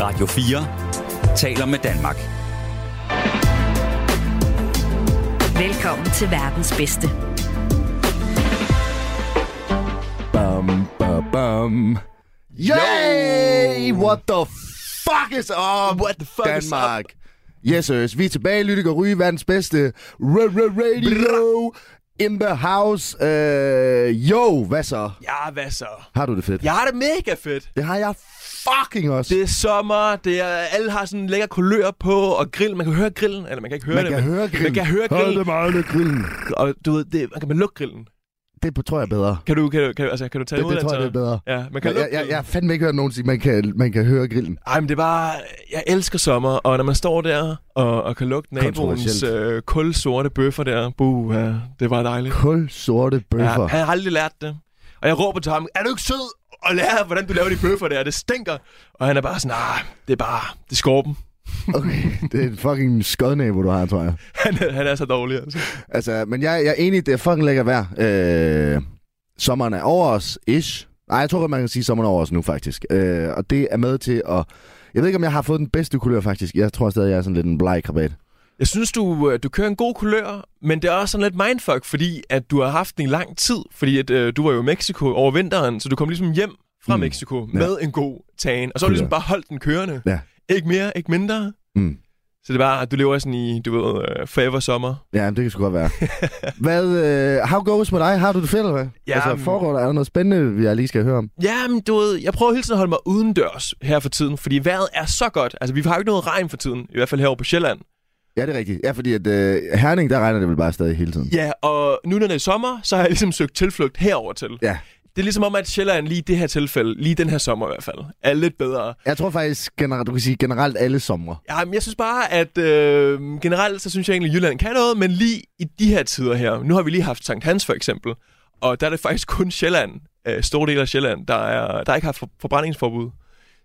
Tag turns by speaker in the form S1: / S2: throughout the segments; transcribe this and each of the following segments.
S1: Radio 4 taler med Danmark.
S2: Velkommen til verdens bedste.
S3: Bum, bum, bum. Yay! What the fuck is up,
S4: What the fuck is
S3: Danmark? Yes, sirs. Vi er tilbage, Lytik og Ryge, verdens bedste r- r- radio in the house. Uh, yo, hvad så?
S4: Ja, hvad så?
S3: Har du det fedt?
S4: Jeg har det mega fedt.
S3: Det har jeg fucking også.
S4: Det er sommer, det er, alle har sådan en lækker kulør på, og grill. Man kan høre grillen, eller man kan ikke høre
S3: man
S4: det.
S3: kan høre grillen.
S4: Man kan høre
S3: Hold
S4: grillen,
S3: det meget med grillen.
S4: og du ved, det, man kan man lukke grillen.
S3: Det tror jeg er bedre.
S4: Kan du, kan du, kan, du- altså, kan du tage
S3: Det,
S4: imod
S3: det tror jeg, det er bedre.
S4: Ja,
S3: Jeg,
S4: man kan lukke
S3: jeg, jeg,
S4: grillen.
S3: jeg har fandme ikke hørt nogen sige, man kan, man kan høre grillen.
S4: Ej, men det er bare... Jeg elsker sommer, og når man står der og, og kan lugte naboens
S3: Kontroversielt.
S4: øh, kulsorte bøffer der, buh, ja, det var dejligt.
S3: Kul sorte bøffer.
S4: Ja, han har aldrig lært det. Og jeg råber til ham, er du ikke sød og lære, hvordan du laver de bøffer der? Det stinker. Og han er bare sådan, nej, det er bare, det er skorpen.
S3: Okay, det er en fucking skodnæbo, du har, tror jeg.
S4: Han, er- han er så dårlig, altså.
S3: Altså, men jeg, jeg er enig, det er fucking lækkert vejr. Øh, sommeren er over os, ish. Nej, jeg tror godt, man kan sige, sommeren er over os nu, faktisk. Øh, og det er med til at... Jeg ved ikke, om jeg har fået den bedste kulør, faktisk. Jeg tror stadig, jeg er sådan lidt en bleg krabat.
S4: Jeg synes, du, øh, du kører en god kulør, men det er også sådan lidt mindfuck, fordi at du har haft den i lang tid, fordi at, øh, du var jo i Mexico over vinteren, så du kom ligesom hjem fra
S3: Mm.
S4: mm. Mexico med en god tan, og så har
S3: Kulør.
S4: du ligesom bare holdt den kørende.
S3: Ja.
S4: Ikke mere, ikke mindre.
S3: Mm.
S4: Så det er bare, at du lever sådan i, du ved, øh, forever sommer.
S3: Ja, men det kan sgu godt være. hvad, øh, how goes med dig? Har du det fedt, eller hvad?
S4: Ja,
S3: altså,
S4: men-
S3: foregår der, er der noget spændende, jeg lige skal høre om?
S4: Ja, men du ved, jeg prøver hele tiden at holde mig udendørs her for tiden, fordi vejret er så godt. Altså, vi har jo ikke noget regn for tiden, i hvert fald herovre på Sjælland.
S3: Ja, det er rigtigt. Ja, fordi at øh, Herning, der regner det vel bare stadig hele tiden.
S4: Ja, og nu når det er sommer, så har jeg ligesom søgt tilflugt herover til.
S3: Ja.
S4: Det er ligesom om, at Sjælland lige i det her tilfælde, lige den her sommer i hvert fald, er lidt bedre.
S3: Jeg tror faktisk, generelt, du kan sige generelt alle somre.
S4: Ja, men jeg synes bare, at øh, generelt, så synes jeg egentlig, at Jylland kan noget, men lige i de her tider her, nu har vi lige haft Sankt Hans for eksempel, og der er det faktisk kun Sjælland, øh, store dele af Sjælland, der, er, der ikke har for- forbrændingsforbud.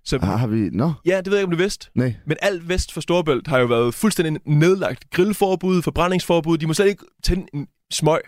S4: Så
S3: Har, har vi... Nå,
S4: ja, det ved jeg ikke, om du vidste.
S3: nej.
S4: Men alt vest for Storbælt har jo været fuldstændig nedlagt. Grillforbud, forbrændingsforbud, de må slet ikke tænde en smøg,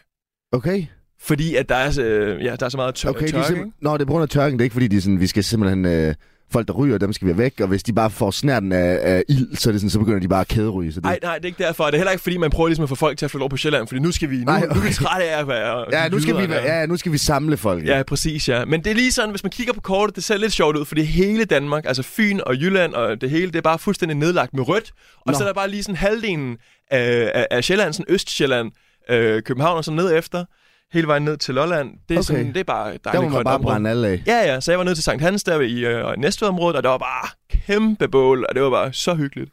S3: Okay.
S4: fordi at der er, øh, ja, der er så meget tør-
S3: Okay,
S4: okay,
S3: de er
S4: tørke.
S3: simpel...
S4: ikke?
S3: Nå, det er på grund af tørken. Det er ikke fordi, de er sådan, vi skal simpelthen... Øh, folk, der ryger, dem skal vi have væk. Og hvis de bare får snærten af, af ild, så, er det sådan, så begynder de bare at kæderyge. Så det...
S4: Nej, nej, det er ikke derfor. Det er heller ikke, fordi man prøver ligesom at få folk til at flytte over på Sjælland, fordi nu skal vi, nu,
S3: Nej,
S4: nej,
S3: okay.
S4: okay. nu er vi trætte af at være...
S3: ja, nu skal, vi,
S4: jyder,
S3: være- ja, nu skal vi samle folk.
S4: Ja, præcis, ja. Men det er lige sådan, hvis man kigger på kortet, det ser lidt sjovt ud, fordi hele Danmark, altså Fyn og Jylland og det hele, det er bare fuldstændig nedlagt med rødt. Og
S3: Nå.
S4: Nå. så er der bare lige sådan halvdelen af, af, af Sjælland, sådan Østsjælland, øh, København og så ned efter, hele vejen ned til Lolland. Det er,
S3: Okay.
S4: okay. sådan, det er bare
S3: Der må
S4: dejligt
S3: man
S4: grønt
S3: bare
S4: område.
S3: brænde alle af.
S4: Ja, ja, så jeg var nede til Sankt Hans der i øh, Næstvedområdet, og der var bare kæmpe bål, og det var bare så hyggeligt.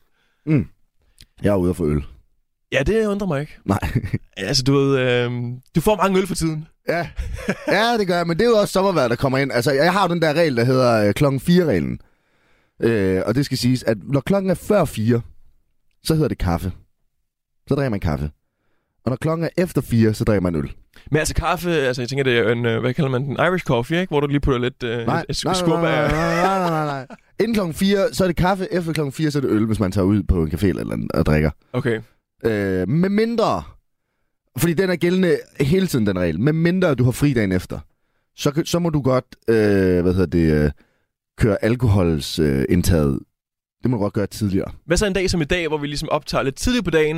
S3: Jeg er ude for øl.
S4: Ja, det undrer mig ikke.
S3: Nej.
S4: Altså, du ved, øh, du får mange øl for tiden.
S3: ja. ja, det gør jeg, men det er jo også sommervejr, der kommer ind. Altså, jeg har jo den der regel, der hedder øh, klokken 4-reglen. Øh, og det skal siges, at når klokken er før 4, så hedder det kaffe. Så drikker man kaffe. Og når klokken er efter 4, så drikker man øl.
S4: Men altså kaffe, altså jeg tænker, det er en, øh, hvad kalder man den, Irish coffee, ikke? Hvor du lige putter lidt øh,
S3: Nej,
S4: et- et
S3: nej,
S4: sku-
S3: nej,
S4: skub
S3: nej,
S4: af...
S3: nej, nej, nej, nej, nej. Inden klokken 4, så er det kaffe. Efter klokken 4, så er det øl, hvis man tager ud på en café eller andet og drikker.
S4: Okay.
S3: Øh, med mindre, fordi den er gældende hele tiden, den regel. Med mindre du har fri dagen efter, så, kan- så må du godt, øh, hvad hedder det, øh, køre alkohols øh, indtaget. Det må du godt gøre tidligere.
S4: Hvad så en dag som i dag, hvor vi ligesom optager lidt tidligt på dagen?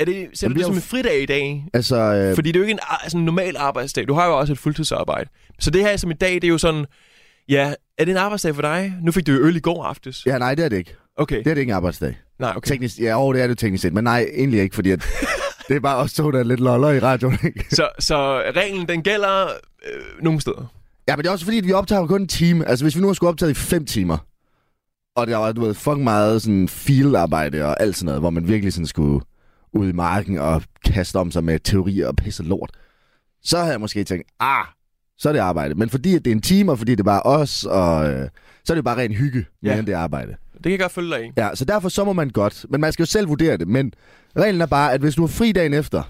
S4: Er det, ser
S3: Jamen,
S4: du det
S3: jeg er
S4: som
S3: jo-
S4: en fridag i dag?
S3: Altså, øh,
S4: Fordi det er jo ikke en, ar- altså, en normal arbejdsdag. Du har jo også et fuldtidsarbejde. Så det her som i dag, det er jo sådan, ja, er det en arbejdsdag for dig? Nu fik du jo øl i går aftes.
S3: ja, nej, det er det ikke.
S4: Okay,
S3: Det er det ikke en arbejdsdag.
S4: nej, okay.
S3: Teknisk, ja, åh, det er det teknisk set, men nej, egentlig ikke, fordi at, det er bare også to, der er lidt loller i radioen, ikke?
S4: Så, så reglen, den gælder øh, nogle steder.
S3: Ja, men det er også fordi, at vi optager jo kun en time. Altså, hvis vi nu har skulle optaget i fem timer, og der var, du ved, fucking meget sådan field-arbejde og alt sådan noget, hvor man virkelig sådan skulle ud i marken og kaste om sig med teorier og pisse lort, så havde jeg måske tænkt, ah, så er det arbejde. Men fordi at det er en time, og fordi det er bare os, og øh, så er det jo bare ren hygge, mere
S4: Ja.
S3: end det er arbejde.
S4: Det kan jeg godt følge dig i.
S3: Ja, så derfor så må man godt, men man skal jo selv vurdere det. Men reglen er bare, at hvis du har fri dagen efter,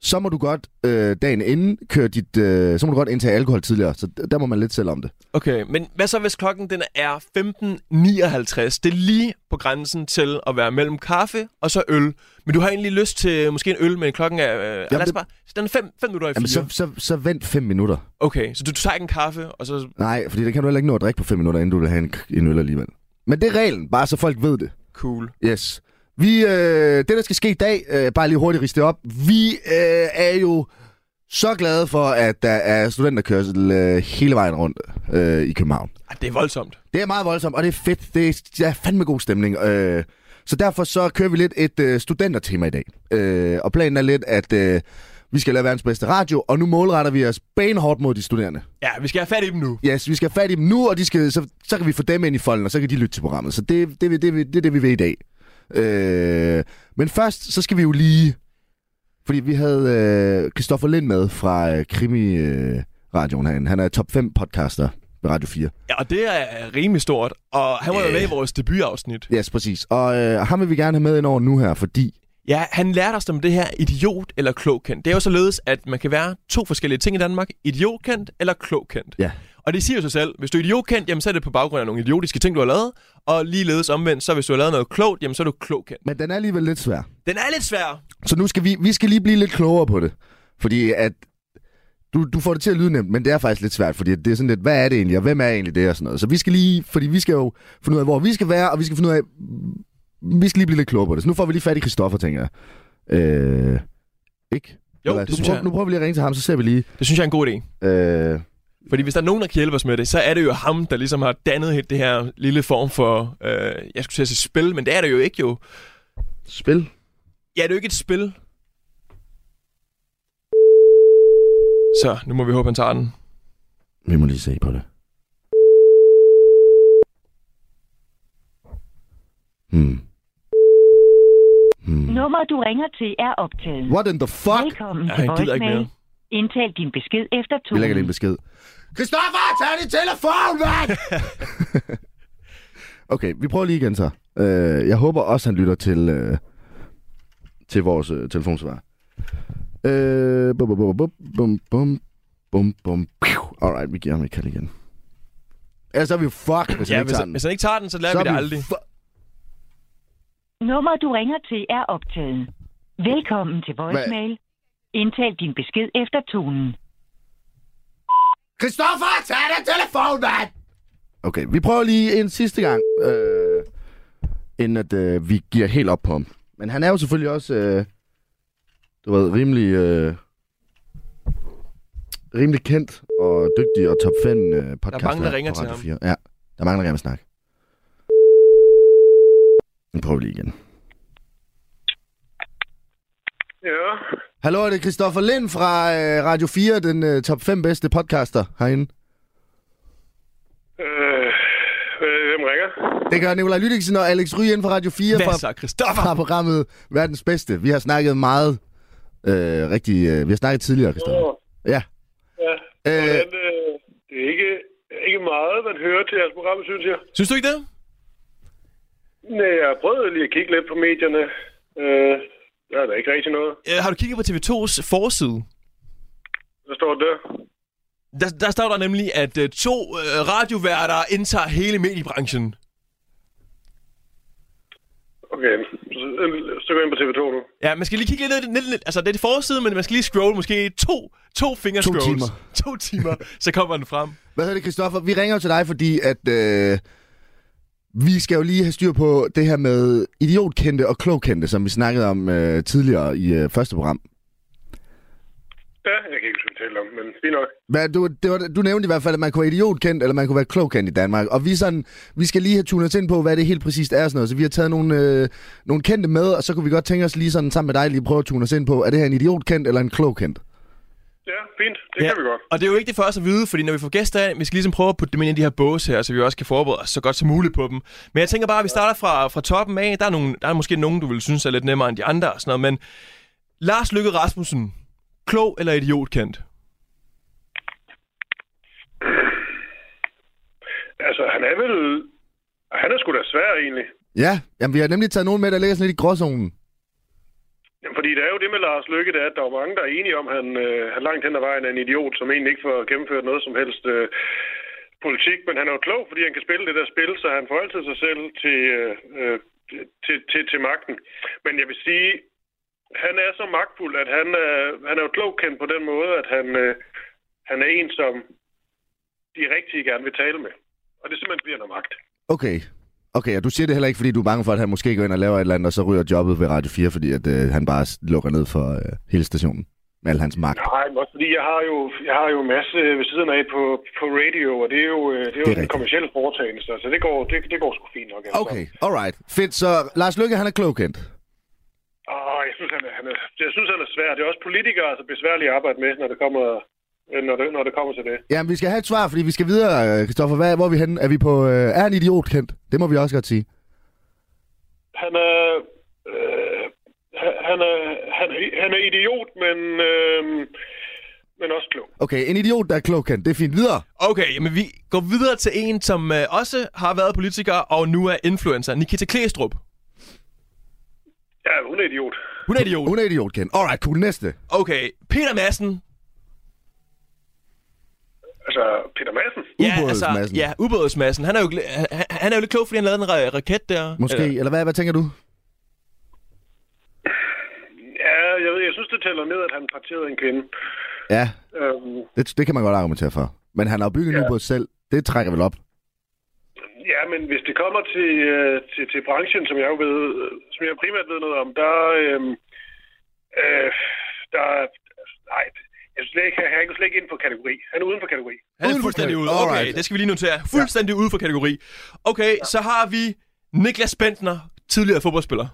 S3: så må du godt øh, dagen inden køre dit, øh, så må du godt indtage alkohol tidligere, så d- der må man lidt selv om det.
S4: Okay, men hvad så hvis klokken den er 15.59? Det er lige på grænsen til at være mellem kaffe og så øl. Men du har egentlig lyst til måske en øl, men klokken er... Øh, Jamen, lad os
S3: det-
S4: bare, så den er 5 minutter i fire.
S3: Jamen, så, så, så vent fem minutter.
S4: Okay, så du, du tager ikke en kaffe, og så...
S3: Nej, fordi det kan du heller ikke nå at drikke på fem minutter, inden du vil have en, k- en øl alligevel. Men det er reglen, bare så folk ved det.
S4: Cool.
S3: Yes. Vi, øh, det, der skal ske i dag, øh, bare lige hurtigt riste op. Vi øh, er jo så glade for, at der er studenterkørsel øh, hele vejen rundt øh, i København.
S4: Ej, det er voldsomt.
S3: Det er meget voldsomt, og det er fedt. Det er, det er fandme god stemning. Øh, så derfor så kører vi lidt et øh, studentertema i dag. Øh, og planen er lidt, at øh, vi skal lave verdens bedste radio, og nu målretter vi os benhårdt mod de studerende.
S4: Ja, vi skal have fat i dem nu.
S3: Yes, vi skal have fat i dem nu, og de skal, så, så kan vi få dem ind i folden, og så kan de lytte til programmet. Så det, det, det, det, det er det, vi vil i dag. Øh, men først, så skal vi jo lige... Fordi vi havde øh, Christoffer Lind med fra øh, Krimi-radioen herinde. Han er top 5 podcaster ved Radio 4.
S4: Ja, og det er rimelig stort. Og han var jo
S3: Øh.
S4: med i vores debutafsnit.
S3: Yes, præcis. Og øh, ham vil vi gerne have med ind over nu her, fordi...
S4: Ja, han lærte os om det her idiot eller klogkendt. Det er jo således, at man kan være to forskellige ting i Danmark. Idiotkendt eller klogkendt.
S3: Ja.
S4: Og det siger jo sig selv. Hvis du er idiotkendt, jamen så er det på baggrund af nogle idiotiske ting, du har lavet. Og ligeledes omvendt, så hvis du har lavet noget klogt, jamen så er du klogkendt.
S3: Men den er alligevel lidt svær.
S4: Den er lidt svær.
S3: Så nu skal vi, vi skal lige blive lidt klogere på det. Fordi at... Du, du får det til at lyde nemt, men det er faktisk lidt svært, fordi det er sådan lidt, hvad er det egentlig, og hvem er egentlig det, og sådan noget. Så vi skal lige, fordi vi skal jo finde ud af, hvor vi skal være, og vi skal finde ud af, vi skal lige blive lidt klogere på det. Så nu får vi lige fat i Christoffer, tænker jeg. Øh, ikke?
S4: Jo,
S3: Eller,
S4: det
S3: så
S4: synes
S3: prøv,
S4: jeg.
S3: Nu prøver vi lige at ringe til ham, så ser vi lige.
S4: Det synes jeg er en god idé.
S3: Øh,
S4: Fordi hvis der er nogen, der kan hjælpe os med det, så er det jo ham, der ligesom har dannet helt det her lille form for, øh, jeg skulle til at sige spil, men det er det jo ikke jo.
S3: spil.
S4: Ja, det er jo ikke et spil. Så, nu må vi håbe, han tager den.
S3: Vi må lige se på det. Hmm. Hmm.
S5: Nummeret, du ringer til, er optaget.
S3: What in the fuck?
S5: Velkommen
S4: Ja,
S5: til
S4: han gider ikke
S5: voicemail.
S4: mere.
S5: Indtal din besked efter to.
S3: Vi lægger lige en besked. Christoffer, tag din telefon, mand! okay, vi prøver lige igen så. Øh, jeg håber også, han lytter til, øh, til vores øh, telefonsvar. Øh, bum, bum, bum, bum, bum, bum, bum, bum, piu. Alright, vi giver ham et kald igen. Ellers er vi jo fuck, hvis ja,
S4: Ja,
S3: han ikke
S4: hvis,
S3: tager den.
S4: hvis han ikke tager den, så lærer
S3: Så
S4: vi
S3: er
S4: det
S3: jo
S4: aldrig.
S3: fu-
S5: Nummeret, du ringer til, er optaget. Velkommen til voicemail. Indtal din besked efter tonen.
S3: Christoffer, tag den telefon, mand! Okay, vi prøver lige en sidste gang, øh, inden at øh, vi giver helt op på ham. Men han er jo selvfølgelig også, øh, du ved, rimelig, øh, rimelig kendt og dygtig og top 5 øh, podcast.
S4: mange, der ringer til ham.
S3: Ja, der er mange, der gerne vil snakke. Nu prøver vi lige igen.
S6: Ja,
S3: Hallo, er det Christoffer Lind fra øh, Radio 4, den øh, top 5 bedste podcaster herinde.
S6: øh, øh, hvem ringer?
S3: Det gør Nikolaj Lydiksen og Alex Ryen fra Radio 4 fra
S4: Hvad så, Christoffer?
S3: fra programmet Verdens Bedste. Vi har snakket meget, øh, rigtig, øh, vi har snakket tidligere, Christoffer.
S6: Åh,
S3: Ja.
S6: ja.
S3: Øh,
S6: Hvordan, øh, det er ikke, ikke meget, man hører til jeres program, synes jeg.
S4: Synes du ikke det?
S6: Nej, jeg har prøvet lige at kigge lidt på medierne. Øh, der er da ikke rigtig noget.
S4: Øh, har du kigget på TV2's forside?
S6: Hvad står der?
S4: Der, der står der nemlig, at øh, to øh, radioværter indtager hele mediebranchen.
S6: Okay, så, øh, så går jeg ind på TV2 nu.
S4: Ja, man skal lige kigge lidt ned. ned, ned altså, det er det forside, men man skal lige scrolle måske to, to fingerscrolls.
S3: timer.
S4: To timer, så kommer den frem.
S3: hvad hedder det, Christoffer? Vi ringer jo til dig, fordi at øh, vi skal jo lige have styr på det her med idiotkendte og klogkendte, som vi snakkede om øh, tidligere i øh, første program.
S6: Ja, jeg kan ikke huske, hvad vi talte om, men fint nok.
S3: Hvad, du, det var, du nævnte i hvert fald, at man kunne være idiotkendt, eller man kunne være klogkendt i Danmark. Og vi, er sådan, vi skal lige have tunet os ind på, hvad det helt præcist er og sådan noget. Så vi har taget nogle, øh, nogle kendte med, og så kunne vi godt tænke os lige sådan sammen med dig lige prøve at tune os ind på, er det her en idiotkendt eller en klogkendt?
S6: Ja, fint. Det ja. kan vi godt.
S4: Og det er jo vigtigt for os at vide, fordi når vi får gæster af, vi skal ligesom prøve at putte dem ind i de her båse her, så vi også kan forberede os så godt som muligt på dem. Men jeg tænker bare, at vi starter fra, fra toppen af. Der er, nogle, der er måske nogen, du vil synes er lidt nemmere end de andre og sådan noget, men Lars Lykke Rasmussen, klog eller idiotkendt?
S6: Altså, han er vel... Han er sgu da svær, egentlig.
S3: Ja, jamen, vi har nemlig taget nogen med, der ligger sådan lidt i gråzonen.
S6: Jamen, fordi det er jo det med Lars Lykke, det er, at der er mange, der er enige om, at han, øh, han langt hen ad vejen er en idiot, som egentlig ikke får gennemført noget som helst øh, politik. Men han er jo klog, fordi han kan spille det der spil, så han får altid sig selv til, øh, øh, til, til, til magten. Men jeg vil sige, han er så magtfuld, at han, øh, han er jo klogkendt på den måde, at han, øh, han er en, som de rigtige gerne vil tale med. Og det simpelthen bliver noget magt.
S3: Okay. Okay, og du siger det heller ikke, fordi du er bange for, at han måske går ind og laver et eller andet, og så ryger jobbet ved Radio 4, fordi at, øh, han bare lukker ned for øh, hele stationen med al hans magt.
S6: Nej, men også fordi jeg har jo, jeg har jo en masse ved siden af på, på radio, og det er jo, øh, det er jo
S3: Det er
S6: det
S3: rigtigt.
S6: en kommersiel foretagende, så, så det, går, det, det går sgu fint nok. altså.
S3: Okay, alright. Fedt, så Lars Lykke, han er klogkendt.
S6: Åh, jeg synes, han er, han er, jeg synes, han er svær. Det er også politikere, altså besværlige at arbejde med, når det kommer, øh, når det, når det kommer til det.
S3: Jamen, vi skal have et svar, fordi vi skal videre, øh, Christoffer. Hvad, hvor er vi henne? Er vi på... Øh, er han idiot kendt? Det må vi også godt sige.
S6: Han er... Øh, han- han, er han, er- han er idiot, men, øh, men også klog.
S3: Okay, en idiot, der er klogkendt. Det er fint. Videre.
S4: Okay, jamen vi går videre til en, som øh, også har været politiker og nu er influencer. Nikita Klæstrup.
S6: Ja, hun er idiot.
S4: Hun er idiot.
S3: Hun er idiot kendt. Alright, cool. Næste.
S4: Okay, Peter Madsen.
S6: Altså, Peter Madsen.
S3: Ubådsmadsen.
S4: altså, ja, ubådsmassen. Han er jo, gl- han, han er jo lidt klog, fordi han lavede en ra- raket der.
S3: Måske. Eller, eller hvad, hvad tænker du?
S6: Ja, jeg ved, jeg synes, det tæller ned, at han parterede en kvinde.
S3: Ja,
S6: Øhm,
S3: det, det kan man godt argumentere for. Men han har jo bygget en
S6: Ja.
S3: ubåd selv. Det trækker vel op.
S6: ja, men hvis det kommer til, øh, til, til branchen, som jeg jo ved, øh, som jeg primært ved noget om, der, øhm, øh, der, nej, jeg synes slet ikke, han er slet ikke inden for kategori. Han er uden for kategori.
S4: Han er
S3: Uden for
S4: fuldstændig ude.
S3: kategori.
S4: Okay,
S3: Alright.
S4: det skal vi lige notere. Fuldstændig ude for kategori. Okay, så har vi Niklas Bentner, tidligere fodboldspiller.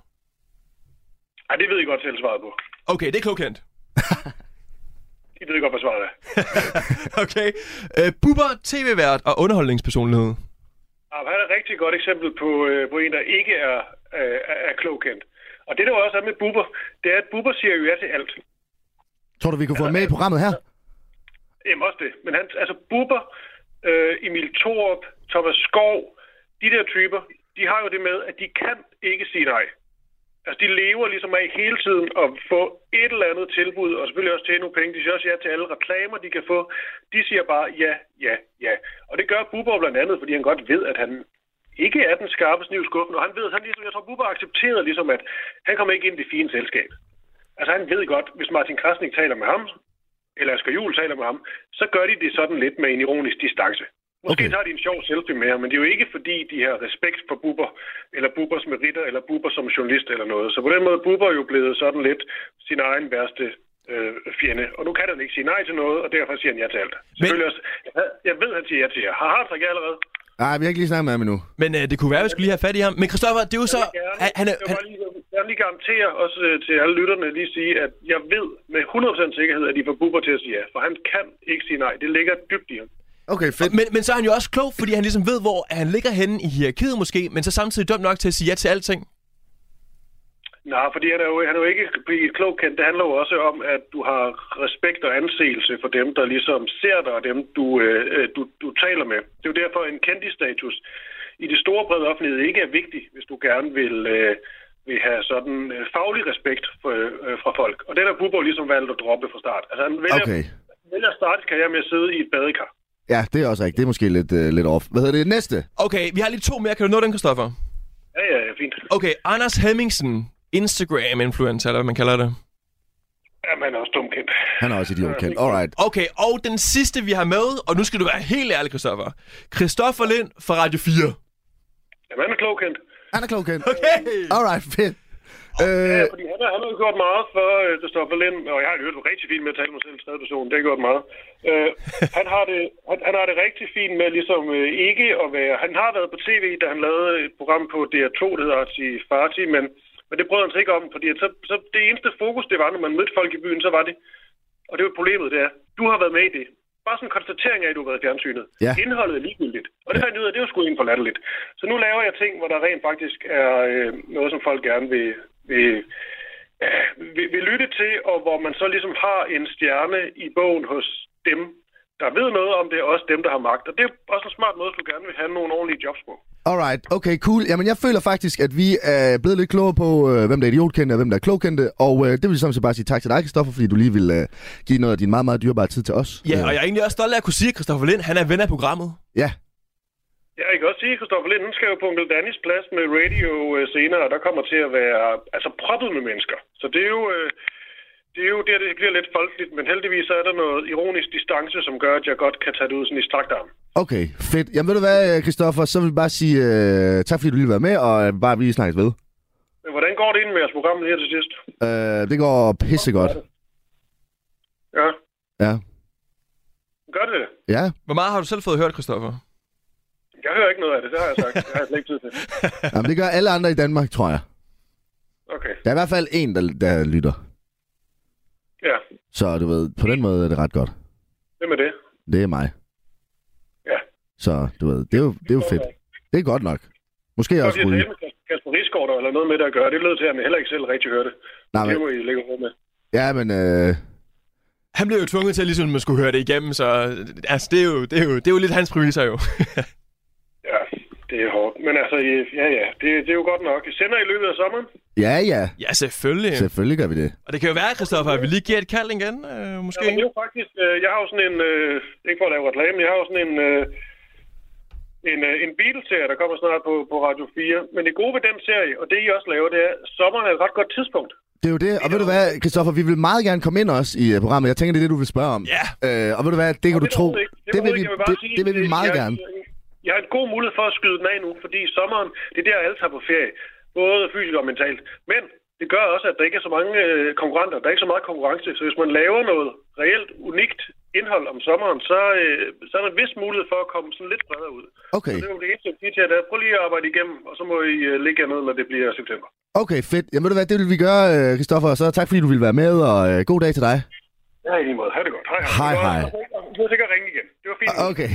S6: Ej, det ved I godt selv svaret på.
S4: Okay, det er klogkendt.
S6: I ved godt, hvad svaret er.
S4: Okay. Øh, Bubber, tv-vært og underholdningspersonlighed.
S6: Ja, Han er et rigtig godt eksempel på, øh, på en, der ikke er, øh, er- er klogkendt. Og det, der også er med Bubber, det er, at Bubber siger jo ja til alt.
S3: Tror du, vi kunne få ham med i programmet her?
S6: Jamen også det. Men han, altså Bubber, øh, Emil Thorup, Thomas Skov, de der typer, de har jo det med, at de kan ikke sige nej. Altså, de lever ligesom af hele tiden at få et eller andet tilbud, og selvfølgelig også tjene nogle penge. De siger også ja til alle reklamer, de kan få. De siger bare ja, ja, ja. Og det gør Bubber blandt andet, fordi han godt ved, at han ikke er den skarpe sniv i skuffen. Og han ved, han ligesom, jeg tror, Bubber accepterede ligesom, at han kommer ikke ind i det fine selskab. Altså, han ved godt, hvis Martin Krasnik taler med ham, eller Asger Juhl taler med ham, så gør de det sådan lidt med en ironisk distance. Måske
S3: Okay.
S6: okay. tager de en sjov selfie med ham, men det er jo ikke fordi, de har respekt for Bubber, eller Bubbers meritter, eller Bubber som journalist eller noget. Så på den måde Bubber er jo blevet sådan lidt sin egen værste øh, fjende. Og nu kan han ikke sige nej til noget, og derfor siger han ja til alt. Selvfølgelig også. Jeg ved, han siger ja til jer. Har han ikke allerede?
S3: Nej, vi har ikke lige snakket med ham endnu.
S4: Men øh, det kunne være, at vi skulle lige have fat i ham. Men Christoffer, det er jo så... Han, han, er,
S6: jeg vil
S4: han,
S6: bare lige, jeg vil lige garantere også øh, til alle lytterne lige sige, at jeg ved med 100% sikkerhed, at de får Bubber til at sige ja. For han kan ikke sige nej. Det ligger dybt i ham.
S3: Okay, fedt.
S4: men, men så er han jo også klog, fordi han ligesom ved, hvor han ligger henne i hierarkiet måske, men så samtidig dum nok til at sige ja til alting.
S6: Nej, fordi han er jo, han er jo ikke blevet klogkendt. Det handler jo også om, at du har respekt og anseelse for dem, der ligesom ser dig, og dem, du, øh, øh, du, du taler med. Det er jo derfor, en kendisstatus i det store brede offentlighed ikke er vigtig, hvis du gerne vil, øh, vil have sådan øh, faglig respekt for, øh, fra folk. Og den har Bubber ligesom valgt at droppe fra start. Altså, han vælger,
S3: Okay.
S6: vælger at starte sin karriere med at sidde i et badekar.
S3: Ja, det er også rigtigt. Det er måske lidt, øh, lidt off. Hvad hedder det? Næste.
S4: Okay, vi har lige to mere. Kan du nå den, Christoffer?
S6: Ja, ja, ja, fint.
S4: Okay, Anders Hemmingsen, Instagram-influencer, eller hvad man kalder det.
S6: Jamen, han er også dumkendt.
S3: Han er også idiot kendt. Alright.
S4: Okay, og den sidste, vi har med, og nu skal du være helt ærlig, Christoffer. Christoffer Lind fra Radio 4.
S6: Jamen, han er klogkendt.
S3: Han er klogkendt.
S4: Okay!
S3: Alright, fedt. Øh,
S6: Ja, fordi han, har- han har jo gjort meget for øh, Christoffer Lind, og jeg har hørt rigtig fint med at tale mig selv i tredje person, det har gjort meget. Øh, han, har det, han, han har det rigtig fint med ligesom øh, ikke at være... Han har været på tv, da han lavede et program på DR2, der hedder Arti Farti, men, men det brød han sig ikke om, fordi at så, så det eneste fokus, det var, når man mødte folk i byen, så var det... Og det er jo problemet, det er, du har været med i det. Bare sådan en konstatering af, at du har været i fjernsynet.
S3: Ja.
S6: Indholdet er ligegyldigt. Og det fandt jeg ud af, det er jo sgu egentlig for latterligt. Så nu laver jeg ting, hvor der rent faktisk er øh, noget, som folk gerne vil, vil, øh, vil, vil lytte til, og hvor man så ligesom har en stjerne i bogen hos dem, der ved noget om det, og også dem, der har magt. Og det er også en smart måde, hvis du gerne vil have nogle ordentlige jobs på.
S3: Alright, okay, cool. Jamen, jeg føler faktisk, at vi er blevet lidt klogere på, øh, hvem der er idiotkendte og hvem der er klogkendte. Og øh, det vil jeg sådan set bare sige tak til dig, Kristoffer, fordi du lige vil øh, give noget af din meget, meget dyrebare tid til os.
S4: Ja, og jeg er egentlig også stolt af at kunne sige, at Christoffer Lind, han er ven af programmet.
S3: ja.
S6: Ja, jeg kan også sige, at Christoffer Lind, hun skal jo på Onkel Dannys plads med radio øh, senere, og der kommer til at være altså, proppet med mennesker. Så det er jo... Øh, det er jo der, det bliver lidt folkeligt, men heldigvis så er der noget ironisk distance, som gør, at jeg godt kan tage det ud sådan i strakt arm.
S3: Okay, fedt. Jamen ved du hvad, øh, Christoffer, så vil jeg bare sige øh, tak, fordi du lige var med, og øh, bare vi snakkes ved.
S6: Hvordan går det ind med jeres program her til sidst?
S3: Øh, det går pissegodt.
S6: Ja,
S3: Ja.
S6: gør det det?
S3: Ja,
S4: Hvor meget har du selv fået hørt, Christoffer?
S6: Jeg hører ikke noget af det, det har jeg sagt. Det har jeg slet ikke tid til.
S3: Jamen, det gør alle andre i Danmark, tror jeg.
S6: Okay,
S3: Der er i hvert fald en, der, der lytter.
S6: ja,
S3: Så du ved, på den måde er det ret godt.
S6: det med det.
S3: Det er mig.
S6: Ja.
S3: Så du ved, det er jo, det er jo fedt. Det er godt nok. Måske
S6: Jeg
S3: også
S6: har
S3: ryge.
S6: talt med Kasper Rigsgaard der, eller noget med det at gøre. Det lød til, at han heller ikke selv rigtig hørte det.
S3: Nej,
S6: Det
S3: men,
S6: må I lægge råd med.
S3: ja, men øh,
S4: Han blev jo tvunget til, ligesom man skulle høre det igennem, så altså, det, er jo, det, er jo, det er jo lidt hans præmisser jo.
S6: Ja, det er hårdt. Men altså, I- ja, ja, det, det er jo godt nok. I sender i løbet af sommeren?
S3: ja, ja.
S4: ja, selvfølgelig.
S3: Selvfølgelig gør vi det.
S4: Og det kan jo være, Christoffer, at vi lige giver et kald igen, øh, måske.
S6: Ja, men det er jo faktisk, øh, jeg har jo sådan en, øh, ikke for at lave reklame, jeg har jo sådan en, øh, en, øh, en bilserie, der kommer snart på, på Radio 4. Men det gode ved den serie, og det I også laver, det er, at sommeren er et ret godt tidspunkt.
S3: Det er jo det. Og ved du hvad, Christoffer, vi vil meget gerne komme ind også i øh, programmet. Jeg tænker, det er det, du vil spørge om.
S4: Ja.
S3: Øh, og ved du hvad, det kan du
S6: Det
S3: tro.
S6: overhovedet ikke.
S3: Det vil
S6: overhovedet
S3: vi,
S6: ikke. Jeg bare
S3: det,
S6: sige,
S3: det vil vi
S6: øh,
S3: meget
S6: jeg,
S3: gerne.
S6: Jeg har en god mulighed for at skyde den af nu, fordi sommeren, det er der, alle tager på ferie. Både fysisk og mentalt. Men det gør også, at der ikke er så mange øh, konkurrenter. Der er ikke så meget konkurrence. Så hvis man laver noget reelt unikt indhold om sommeren, så, øh, så er der en vis mulighed for at komme sådan lidt bredere ud. Så
S3: Okay,
S6: det er jo det eneste, jeg siger til jer, det er, prøv lige at arbejde igennem, og så må I øh, ligge jer ned, når det bliver september.
S3: okay, fedt. Jamen ved du hvad, det vil vi gøre, øh, Christoffer. Så tak, fordi du ville være med, og øh, god dag til dig.
S6: Ja, i lige måde. Ha' det godt. Hej,
S3: Hej, hej. Ah,
S6: Du har sikkert ringe igen. Det var fint.
S3: Okay.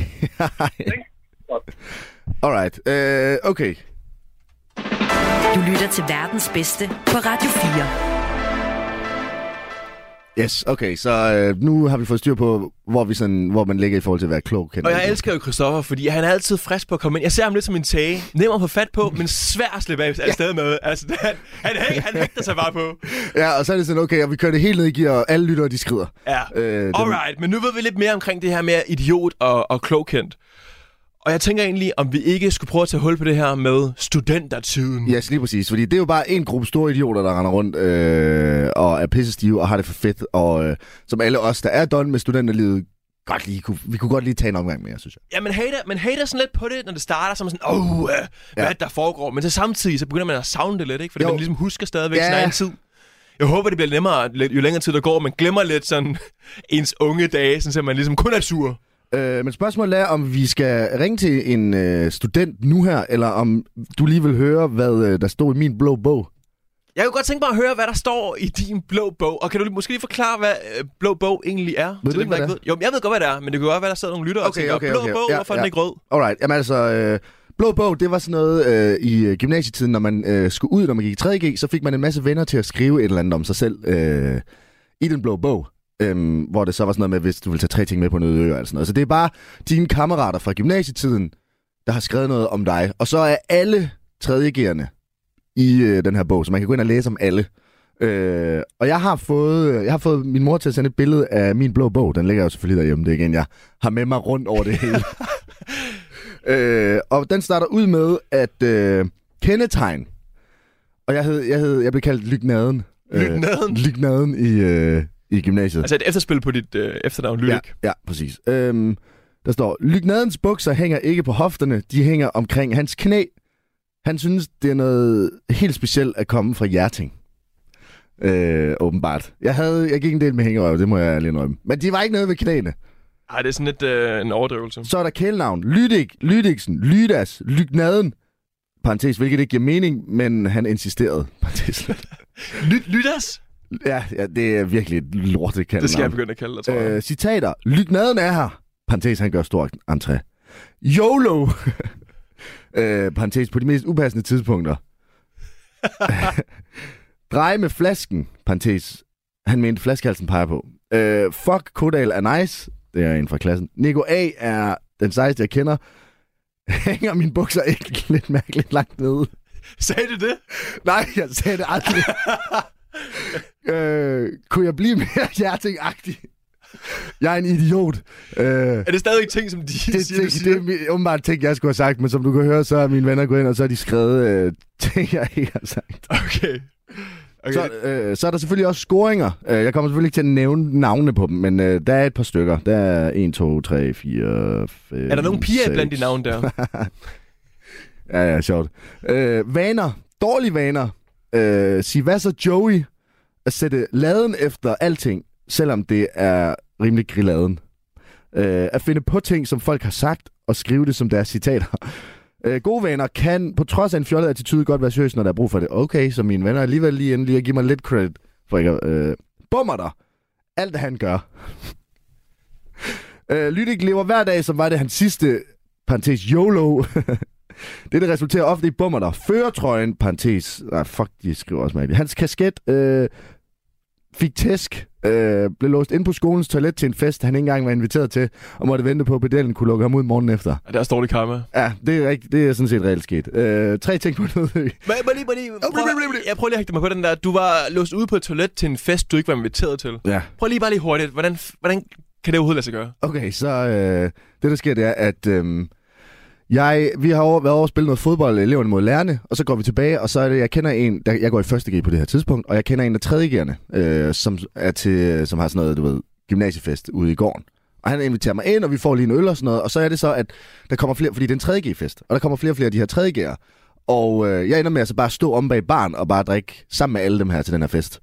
S3: Alright. Øh, okay.
S2: Du lytter til verdens bedste på Radio 4.
S3: Yes, okay. Så øh, nu har vi fået styr på, hvor, vi sådan, hvor man ligger i forhold til at være klog.
S4: Og jeg elsker jo Christoffer, fordi han er altid frisk på at komme ind. Jeg ser ham lidt som en tage. Nem at få fat på, men svær at slippe af ja. afsted med. Altså, det- han, han, hæng, han hægter sig bare på.
S3: Ja, og så er det sådan, okay, og vi kører det helt ned i gear, og alle lyttere, de skrider.
S4: Ja,
S3: Øh,
S4: øh,
S3: den-
S4: alright. Men nu ved vi lidt mere omkring det her med idiot og, og klogkendt. Og jeg tænker egentlig, om vi ikke skulle prøve at tage hul på det her med studentertiden.
S3: Ja, yes, lige præcis. Fordi det er jo bare en gruppe store idioter, der render rundt øh, og er pisse stive og har det for fedt. Og øh, som alle os, der er done med studenterlivet, godt lige kunne, vi kunne godt lige tage en omgang mere, synes jeg.
S4: Ja, man hater, man hater sådan lidt på det, når det starter, så er man sådan, åh, oh, hvad
S3: Ja.
S4: ja. der foregår? Men så samtidig, så begynder man at savne det lidt, ikke? Fordi
S3: Jo.
S4: jo. man ligesom husker stadigvæk ja. sin
S3: Ja.
S4: egen tid. Jeg håber, det bliver nemmere, lidt- jo længere tid der går, man glemmer lidt sådan ens unge dage, sådan så man ligesom kun er sur.
S3: Øh, men spørgsmålet er, om vi skal ringe til en øh, student nu her, eller om du lige vil høre, hvad øh, der stod i min blå bog.
S4: Jeg kunne godt tænke mig at høre, hvad der står i din blå bog. Og kan du lige- måske lige forklare, hvad øh, blå bog egentlig er?
S3: Ved
S4: til
S3: du
S4: dem,
S3: ikke,
S4: der
S3: hvad
S4: ved? Jo, men jeg ved godt, hvad det er, men det kunne godt være, der sidder nogle lyttere
S3: Okay,
S4: og tænker,
S3: okay,
S4: blå
S3: okay.
S4: bog,
S3: Ja,
S4: hvorfor er
S3: ja.
S4: den ikke rød?
S3: Alright, jamen altså, øh, Blå Bog, det var sådan noget øh, i øh, gymnasietiden, når man øh, skulle ud, når man gik i 3G, så fik man en masse venner til at skrive et eller andet om sig selv øh, i den blå bog. Øhm, hvor det så var sådan noget med, hvis du vil tage tre ting med på en øde ø, eller sådan noget. Så det er bare dine kammerater fra gymnasietiden, der har skrevet noget om dig. Og så er alle 3G'erne i øh, den her bog, så man kan gå ind og læse om alle. Øh, og jeg har, fået, jeg har fået min mor til at sende et billede af min blå bog. Den ligger jo selvfølgelig derhjemme. Det er igen, jeg har med mig rundt over det hele. øh, og den starter ud med, at øh, kendetegn. Og jeg, hed, jeg, hed, jeg blev kaldt Lygnaden.
S4: Lygnaden?
S3: Øh, Lygnaden i, øh, i gymnasiet.
S4: Altså et efterspil på dit øh, efternavn, Lyrik.
S3: Ja, ja præcis. Øhm, der står, Lygnadens bukser hænger ikke på hofterne, de hænger omkring hans knæ. Han synes, det er noget helt specielt at komme fra Hjerting. Øh, åbenbart. Jeg, havde, jeg gik en del med hængerøv, det må jeg ærligt indrømme. Men de var ikke nede ved knæene.
S4: Ja. Ej, det er sådan lidt øh, en overdrivelse.
S3: Så er der kælenavn. Lydik, Lydiksen, Lydas, Lygnaden. Parentes, hvilket ikke giver mening, men han insisterede. Parentes. slut.
S4: Lyt, lytters?
S3: ja, ja, det er virkelig et lortet kælenavn.
S4: Det skal jeg begynde at kalde dig, tror jeg.
S3: Øh, citater. Lygnaden er her. Parentes, han gør stor entré. YOLO. øh, parentes, på de mest upassende tidspunkter. Drej med flasken. Parentes, han mente flaskehalsen peger på. Øh, fuck, Kodal er nice. Det er en fra klassen. Nico A. er den sejeste, jeg kender. Hænger mine bukser ikke lidt mærkeligt langt nede?
S4: Sagde du det?
S3: Nej, jeg sagde det aldrig. øh, kunne jeg blive mere hjertingagtig? Jeg er en idiot. Øh, det,
S4: Er det stadig ting, som de det, siger, du
S3: det,
S4: siger?
S3: det, det er åbenbart ting, jeg skulle have sagt, men som du kan høre, så er mine venner gået ind, og så har de skrevet øh, ting, jeg ikke har sagt.
S4: Okay.
S3: Okay. Så, øh, så er der selvfølgelig også scoringer. Øh, Jeg kommer selvfølgelig ikke til at nævne navnene på dem, men øh, der er et par stykker. Der er 1, 2, 3, 4, 5,
S4: Er der nogen piger
S3: 6.
S4: blandt de navne der?
S3: Ja, ja, sjovt. Øh, vaner. Dårlige vaner. Øh, sig, hvad så Joey? At sætte laden efter alting, selvom det er rimelig grilladen. Øh, at finde på ting, som folk har sagt, og skrive det som deres citater. Øh, gode vaner kan, på trods af en fjollet attitude, godt være seriøs, når der er brug for det. Okay, så mine venner er alligevel lige endelig at give mig lidt credit. For ikke at, øh, bummer dig. Alt, hvad han gør. øh, Lydik lever hver dag, som var det hans sidste, parentes YOLO, det, der resulterer ofte i bummer der. Føretrøjen, parentes. Nej, fuck, de skriver også mærkeligt. Hans kasket øh, fik tæsk. Øh, blev låst ind på skolens toilet til en fest, han ikke engang var inviteret til, og måtte vente på, at pedellen kunne lukke ham ud morgen efter.
S4: Ja, der er dårlig karma.
S3: Ja, det er, rigt- det er sådan set reelt sket. Øh, tre ting på noget.
S4: Men, men lige, men lige, prøv, jeg prøver lige at hægte mig på den der. Du var låst ude på et toilet til en fest, du ikke var inviteret til.
S3: Ja.
S4: Prøv lige bare lige hurtigt. Hvordan, hvordan kan det overhovedet lade sig gøre?
S3: Okay, så øh, det, der sker, det er, at øh, jeg, vi har over, været over og spille noget fodbold, øh, eleverne mod lærerne, og så går vi tilbage, og så er det, jeg kender en, der, jeg går i første G på det her tidspunkt, og jeg kender en af tredjegerne, øh, som, er til, øh, som har sådan noget, du ved, gymnasiefest ude i gården. Og han inviterer mig ind, og vi får lige en øl og sådan noget, og så er det så, at der kommer flere, fordi det er en 3G-fest, og der kommer flere og flere af de her 3G'ere. Og øh, jeg ender med altså bare at stå om bag barn og bare drikke sammen med alle dem her til den her fest.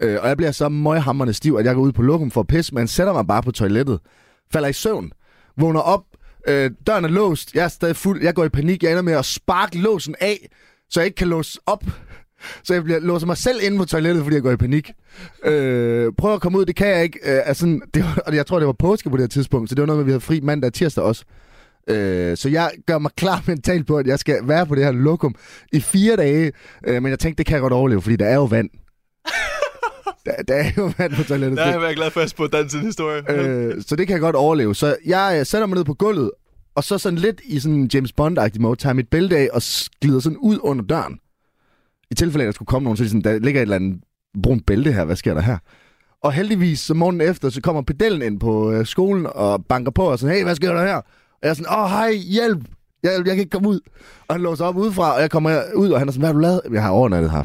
S3: Øh, og jeg bliver så møghamrende stiv, at jeg går ud på lokum for at pisse, men sætter mig bare på toilettet, falder i søvn, vågner op, øh, døren er låst, jeg er stadig fuld, jeg går i panik, jeg ender med at sparke låsen af, så jeg ikke kan låse op. Så jeg bliver, låser mig selv inde på toilettet, fordi jeg går i panik. Øh, prøver at komme ud, det kan jeg ikke. Øh, altså, det var, og jeg tror, det var påske på det her tidspunkt, så det var noget med, at vi havde fri mandag og tirsdag også. Øh, så jeg gør mig klar mentalt på, at jeg skal være på det her lokum i fire dage. Øh, men jeg tænkte, det kan jeg godt overleve, fordi der er jo vand. der, der er jo vand på toilettet.
S4: Der er jeg glad for, at jeg spurgte den historie.
S3: Øh, så det kan jeg godt overleve. Så jeg øh, sætter mig ned på gulvet, og så sådan lidt i sådan James Bond-agtig måde, tager mit bælte af og s- glider sådan ud under døren. I tilfælde af, at der skulle komme nogen, så er de sådan, der ligger et eller andet brunt bælte her, hvad sker der her? Og heldigvis, så morgenen efter, så kommer pedellen ind på øh, skolen og banker på og sådan, hey, hvad sker der her? Og jeg er sådan, åh, oh, hej, hjælp! Jeg, jeg kan ikke komme ud. Og han låser op udefra, og jeg kommer ud, og han er sådan, hvad har du lavet? Jeg har overnattet her.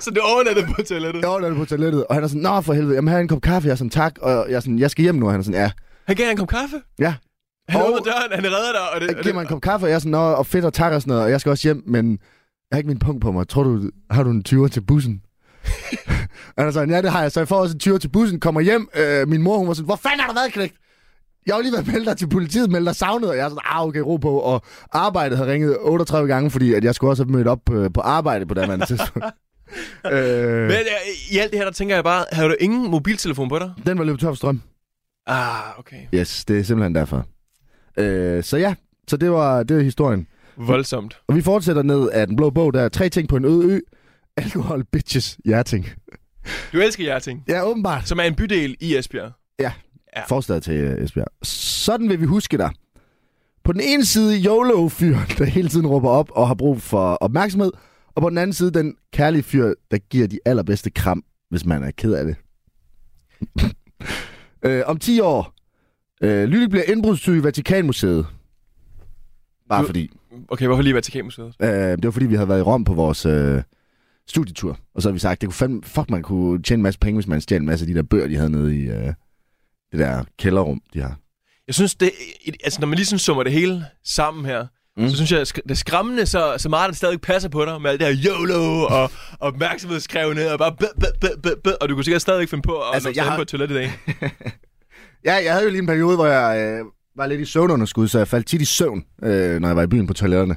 S4: Så det overnattede på toilettet.
S3: Jeg overnattede på toilettet, og han er sådan, nå for helvede, jamen her er en kop kaffe, jeg er sådan, tak, og jeg er sådan, jeg skal hjem nu, og han er sådan, ja,
S4: Han gav dig en kop kaffe.
S3: ja.
S4: Han
S3: Og-
S4: åbner døren, han redder dig. Og det,
S3: Jeg giver
S4: og det,
S3: mig en kop kaffe, og jeg er sådan, nå, og fedt og tak og sådan noget, og jeg skal også hjem, men jeg har ikke min punkt på mig. Tror du, har du en 20'er til bussen? og han er sådan, ja, det har jeg. Så jeg får også en 20'er til bussen, kommer hjem. Øh, min mor, hun var sådan, hvor fanden har du været knægt? Jeg har jo lige været meldt dig til politiet, meldt dig savnet, og jeg er sådan, ah, okay, ro på. Og arbejdet havde ringet 38 gange, fordi at jeg skulle også have mødt op øh, på arbejde på det her tidspunkt. øh,
S4: Men øh, i alt det her, der tænker jeg bare, havde du ingen mobiltelefon på dig?
S3: den var løbet tør for strøm.
S4: Ah, okay.
S3: Yes, det er simpelthen derfor. Øh, så ja, så det var, det var historien.
S4: Voldsomt.
S3: Og vi fortsætter ned af den blå bog, der er tre ting på en øde ø. Alkohol, bitches, jerting.
S4: Du elsker Hjerting,
S3: Ja, åbenbart.
S4: som er en bydel i Esbjerg.
S3: Ja. Forstad til øh, Esbjerg. Sådan vil vi huske dig. På den ene side YOLO-fyren, der hele tiden råber op og har brug for opmærksomhed. Og på den anden side den kærlige fyr, der giver de allerbedste kram, hvis man er ked af det. øh, om 10 år, øh, Lydik bliver indbrudstyv i Vatikanmuseet. Bare
S4: Nu-
S3: fordi.
S4: Okay, hvorfor lige Vatikanmuseet?
S3: Øh, det var fordi, vi havde været i Rom på vores øh, studietur. Og så havde vi sagt, det kunne fandme, fuck, man kunne tjene en masse penge, hvis man stjal en masse af de der bøger, de havde nede i øh, det der kælderrum, de har.
S4: Jeg synes, det, et- altså, når man lige sådan summer det hele sammen her, mm. så synes jeg, sk- det er skræmmende, så, så meget det stadig passer på dig med alt det her YOLO og opmærksomhedskrævende og bare bæ, bæ, bæ, bæ, bæ, og du kunne sikkert stadig finde på at
S3: Altså,
S4: altså,
S3: jeg
S4: jeg
S3: har-
S4: på et toilet i dag.
S3: Ja, jeg havde jo lige en periode, hvor jeg øh, var lidt i søvnunderskud, så jeg faldt tit i søvn, øh, når jeg var i byen på toiletterne.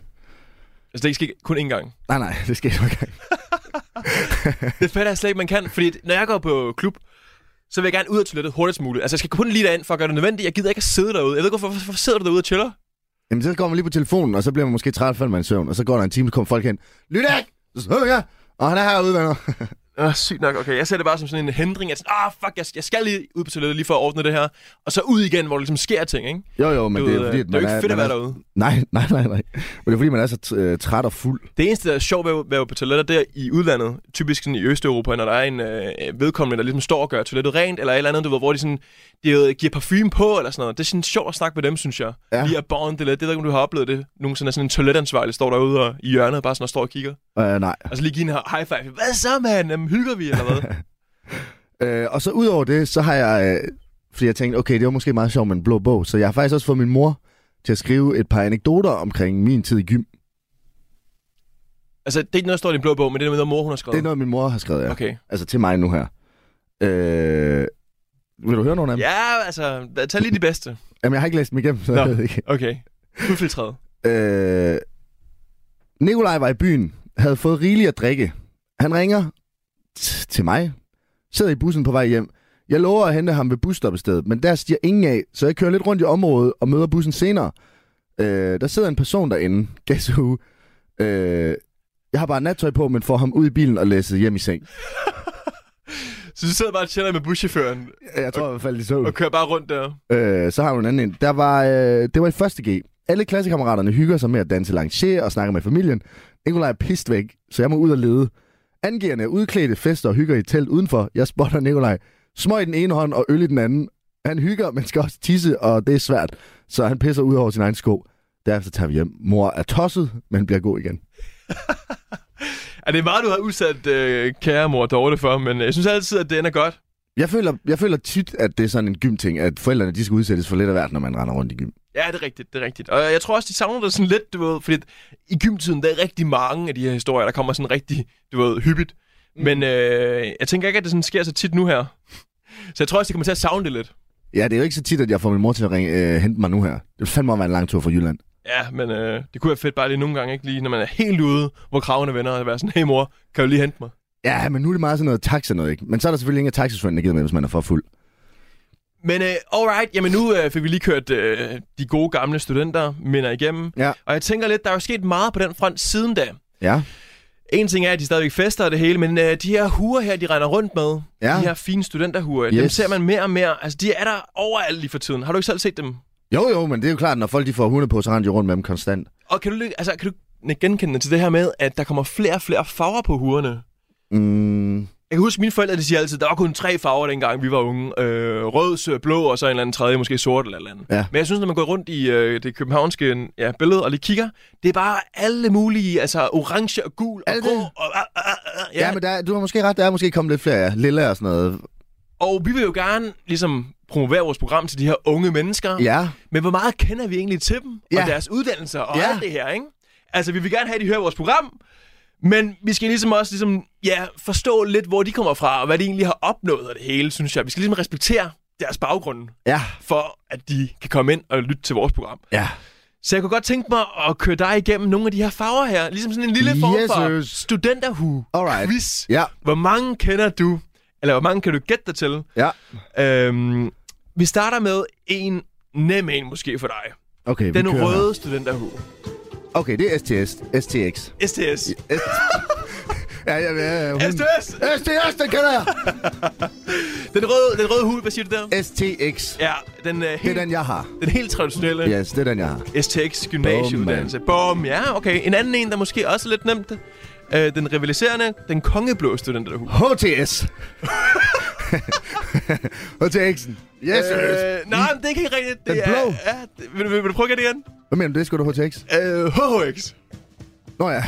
S4: Altså, det sker kun én gang.
S3: Nej, nej, det skete jo ikke.
S4: Det fatter jeg slet ikke, man kan, fordi når jeg går på klub, så vil jeg gerne ud af toilettet hurtigst muligt. Altså, jeg skal kun lige derind for at gøre det nødvendigt. Jeg gider ikke at sidde derude. Jeg ved ikke, hvorfor, hvorfor sidder du derude og chiller?
S3: Jamen, så går man lige på telefonen, og så bliver man måske træt, falder man i søvn, og så går der en time, så kommer folk hen. Lyt ikke! Så siger jeg, og han er herude, venner.
S4: Ah, sygt nok. Okay, jeg ser det bare som sådan en hindring. Jeg er sådan, ah, fuck, jeg, jeg skal lige ud på toilettet lige for at ordne det her. Og så ud igen, hvor der ligesom sker ting, ikke?
S3: jo, jo, men
S4: Du
S3: det er
S4: ved,
S3: jo fordi,
S4: øh,
S3: at
S4: det er jo
S3: man
S4: ikke fedt at
S3: man
S4: være derude.
S3: Nej, nej, nej, nej. Men det er fordi, man er så t- øh, træt og fuld.
S4: Det eneste, der er sjovt ved at være på toiletter, det er i udlandet, typisk sådan i Østeuropa, når der er en øh, vedkommende, der ligesom står og gør toilettet rent, eller et eller andet, du ved, hvor de sådan, de øh, giver parfume på, eller sådan noget. Det er sådan sjovt at snakke med dem, synes jeg.
S3: Ja.
S4: Ja. Lige at bonde det lidt. Det ved jeg ikke, om du har oplevet det. Nogensinde er sådan en toiletansvarlig, der står derude og, i hjørnet, bare sådan og står og kigger.
S3: Øh, nej.
S4: Altså lige give en high five. Hvad så, mand? Jamen, hygger vi, eller hvad?
S3: Øh, og så udover det, så har jeg... Øh, fordi jeg tænkte, okay, det var måske meget sjovt med en blå bog. Så jeg har faktisk også fået min mor til at skrive et par anekdoter omkring min tid i gym.
S4: altså, det er ikke noget, der står i din blå bog, men det er noget, mor hun har skrevet.
S3: Det er noget, min mor har skrevet, ja. Okay.
S4: Okay.
S3: Altså til mig nu her. Øh, vil du høre nogle af dem?
S4: Ja, altså, tag lige de bedste.
S3: Jamen, jeg har ikke læst dem igennem, så
S4: Nå.
S3: jeg ved ikke.
S4: Okay. Udfiltreret.
S3: Øh, Nikolaj var i byen, havde fået rigeligt at drikke. Han ringer t- til mig, sidder i bussen på vej hjem. Jeg lover at hente ham ved busstoppestedet, men der stiger ingen af, så jeg kører lidt rundt i området og møder bussen senere. Øh, der sidder en person derinde, guess who? Øh, jeg har bare nattøj på, men får ham ud i bilen og læsset hjem i seng.
S4: Så du sidder bare og chiller med buschaufføren
S3: Jeg tror i hvert fald, de så
S4: og kører bare rundt der.
S3: Øh, så har du en anden en. Der var, øh, det var i første G. Alle klassekammeraterne hygger sig med at danse lanché og snakke med familien. Nikolaj er pist væk, så jeg må ud og lede. Angiverne er udklædte, fester og hygger i et telt udenfor. Jeg spotter Nikolaj. Smøg i den ene hånd og øl i den anden. Han hygger, men skal også tisse, og det er svært. Så han pisser ud over sin egen sko. Derefter tager vi hjem. Mor er tosset, men bliver god igen.
S4: Er det meget, du har udsat øh, kære mor Dorte for, men øh, jeg synes altid, at det ender godt.
S3: Jeg føler, jeg føler tit, at det er sådan en gymting, at forældrene de skal udsættes for lidt af hvert, når man render rundt i gym.
S4: Ja, det er rigtigt, det er rigtigt. Og jeg tror også, de savner det sådan lidt, du ved, fordi at i gymtiden, der er rigtig mange af de her historier, der kommer sådan rigtig, du ved, hyppigt. Men øh, jeg tænker ikke, at det sådan sker så tit nu her. Så jeg tror også, de kommer til at savne det lidt.
S3: Ja, det er jo ikke så tit, at jeg får min mor til at ringe, øh, hente mig nu her. Det fandme at være en lang tur fra Jylland.
S4: Ja, men øh, det kunne være fedt bare lige nogle gange, ikke lige, når man er helt ude, hvor kravene vender, og være sådan, hey mor, kan du lige hente mig?
S3: Ja, men nu er det meget sådan noget taxa noget, ikke? Men så er der selvfølgelig ingen af taxisvønden, der gider med, hvis man er for fuld.
S4: Men øh, alright, jamen nu øh, fik vi lige kørt øh, de gode gamle studenter minder igennem.
S3: Ja.
S4: Og jeg tænker lidt, der er jo sket meget på den front siden da.
S3: Ja.
S4: En ting er, at de stadigvæk fester og det hele, men øh, de her huer her, de render rundt med,
S3: Ja.
S4: de her fine studenterhuer, yes. dem
S3: Yes.
S4: ser man mere og mere. Altså, de er der overalt lige for tiden. Har du ikke selv set dem?
S3: Jo, jo, men det er jo klart, når folk de får hunde på, så render de rundt med dem konstant.
S4: Og kan du, lige- altså, kan du genkende det til det her med, at der kommer flere og flere farver på huerne?
S3: Mm,
S4: Jeg kan huske, mine forældre de siger altid, der var kun tre farver, dengang vi var unge. Øh, rød, sø, blå og så en eller anden tredje, måske sort eller et eller andet.
S3: Ja.
S4: Men jeg synes, når man går rundt i øh, det københavnske ja, billede og lige kigger, det er bare alle mulige, altså orange og gul og
S3: Er det
S4: grå.
S3: det?
S4: Og, ah, ah, ah, ah,
S3: ja. ja, men der, er- du har måske ret. Der er måske kommet lidt flere ja. lilla og sådan noget.
S4: og vi vil jo gerne ligesom promovere vores program til de her unge mennesker.
S3: Ja.
S4: Men hvor meget kender vi egentlig til dem ja.
S3: Ja.
S4: og deres uddannelser og
S3: Ja.
S4: alt det her, ikke? Altså, vi vil gerne have, at de hører vores program, men vi skal ligesom også ligesom, ja, forstå lidt, hvor de kommer fra, og hvad de egentlig har opnået af det hele, synes jeg. Vi skal ligesom respektere deres baggrund,
S3: Ja.
S4: for at de kan komme ind og lytte til vores program.
S3: Ja.
S4: Så jeg kunne godt tænke mig at køre dig igennem nogle af de her farver her. Ligesom sådan en lille form for
S3: Jesus.
S4: studenterhue
S3: Alright.
S4: quiz.
S3: Ja.
S4: Hvor mange kender du, eller hvor mange kan du gætte dig til?
S3: Ja.
S4: Øhm, vi starter med en nem en måske for dig.
S3: Okay,
S4: Den
S3: vi kører
S4: røde studenterhue.
S3: Her. Okay, det er STS. STX.
S4: STS.
S3: S ja, ja, ja, ja, hun...
S4: STS!
S3: STS, den kender jeg!
S4: Mm. Den røde, den røde hue, hvad siger du der?
S3: STX.
S4: Ja, den, øh,
S3: Det
S4: helt,
S3: er den, jeg har.
S4: den helt traditionelle yeah.
S3: Yes, det er den, jeg har.
S4: STX gymnasieuddannelse. Bum, ja, okay. En anden en, der måske også er lidt nemt. Øh, den rivaliserende, den kongeblå studenterhue.
S3: HTS. HTX'en. Yes, øh...
S4: Øh, nej, men det er ikke helt rigtigt. Det
S3: Den
S4: er,
S3: blå?
S4: Ja, det, vil, du- vil, vil, du prøve at gøre det igen?
S3: Hvad mener du, det skulle du HTX?
S4: Øh, HHX.
S3: Nå ja.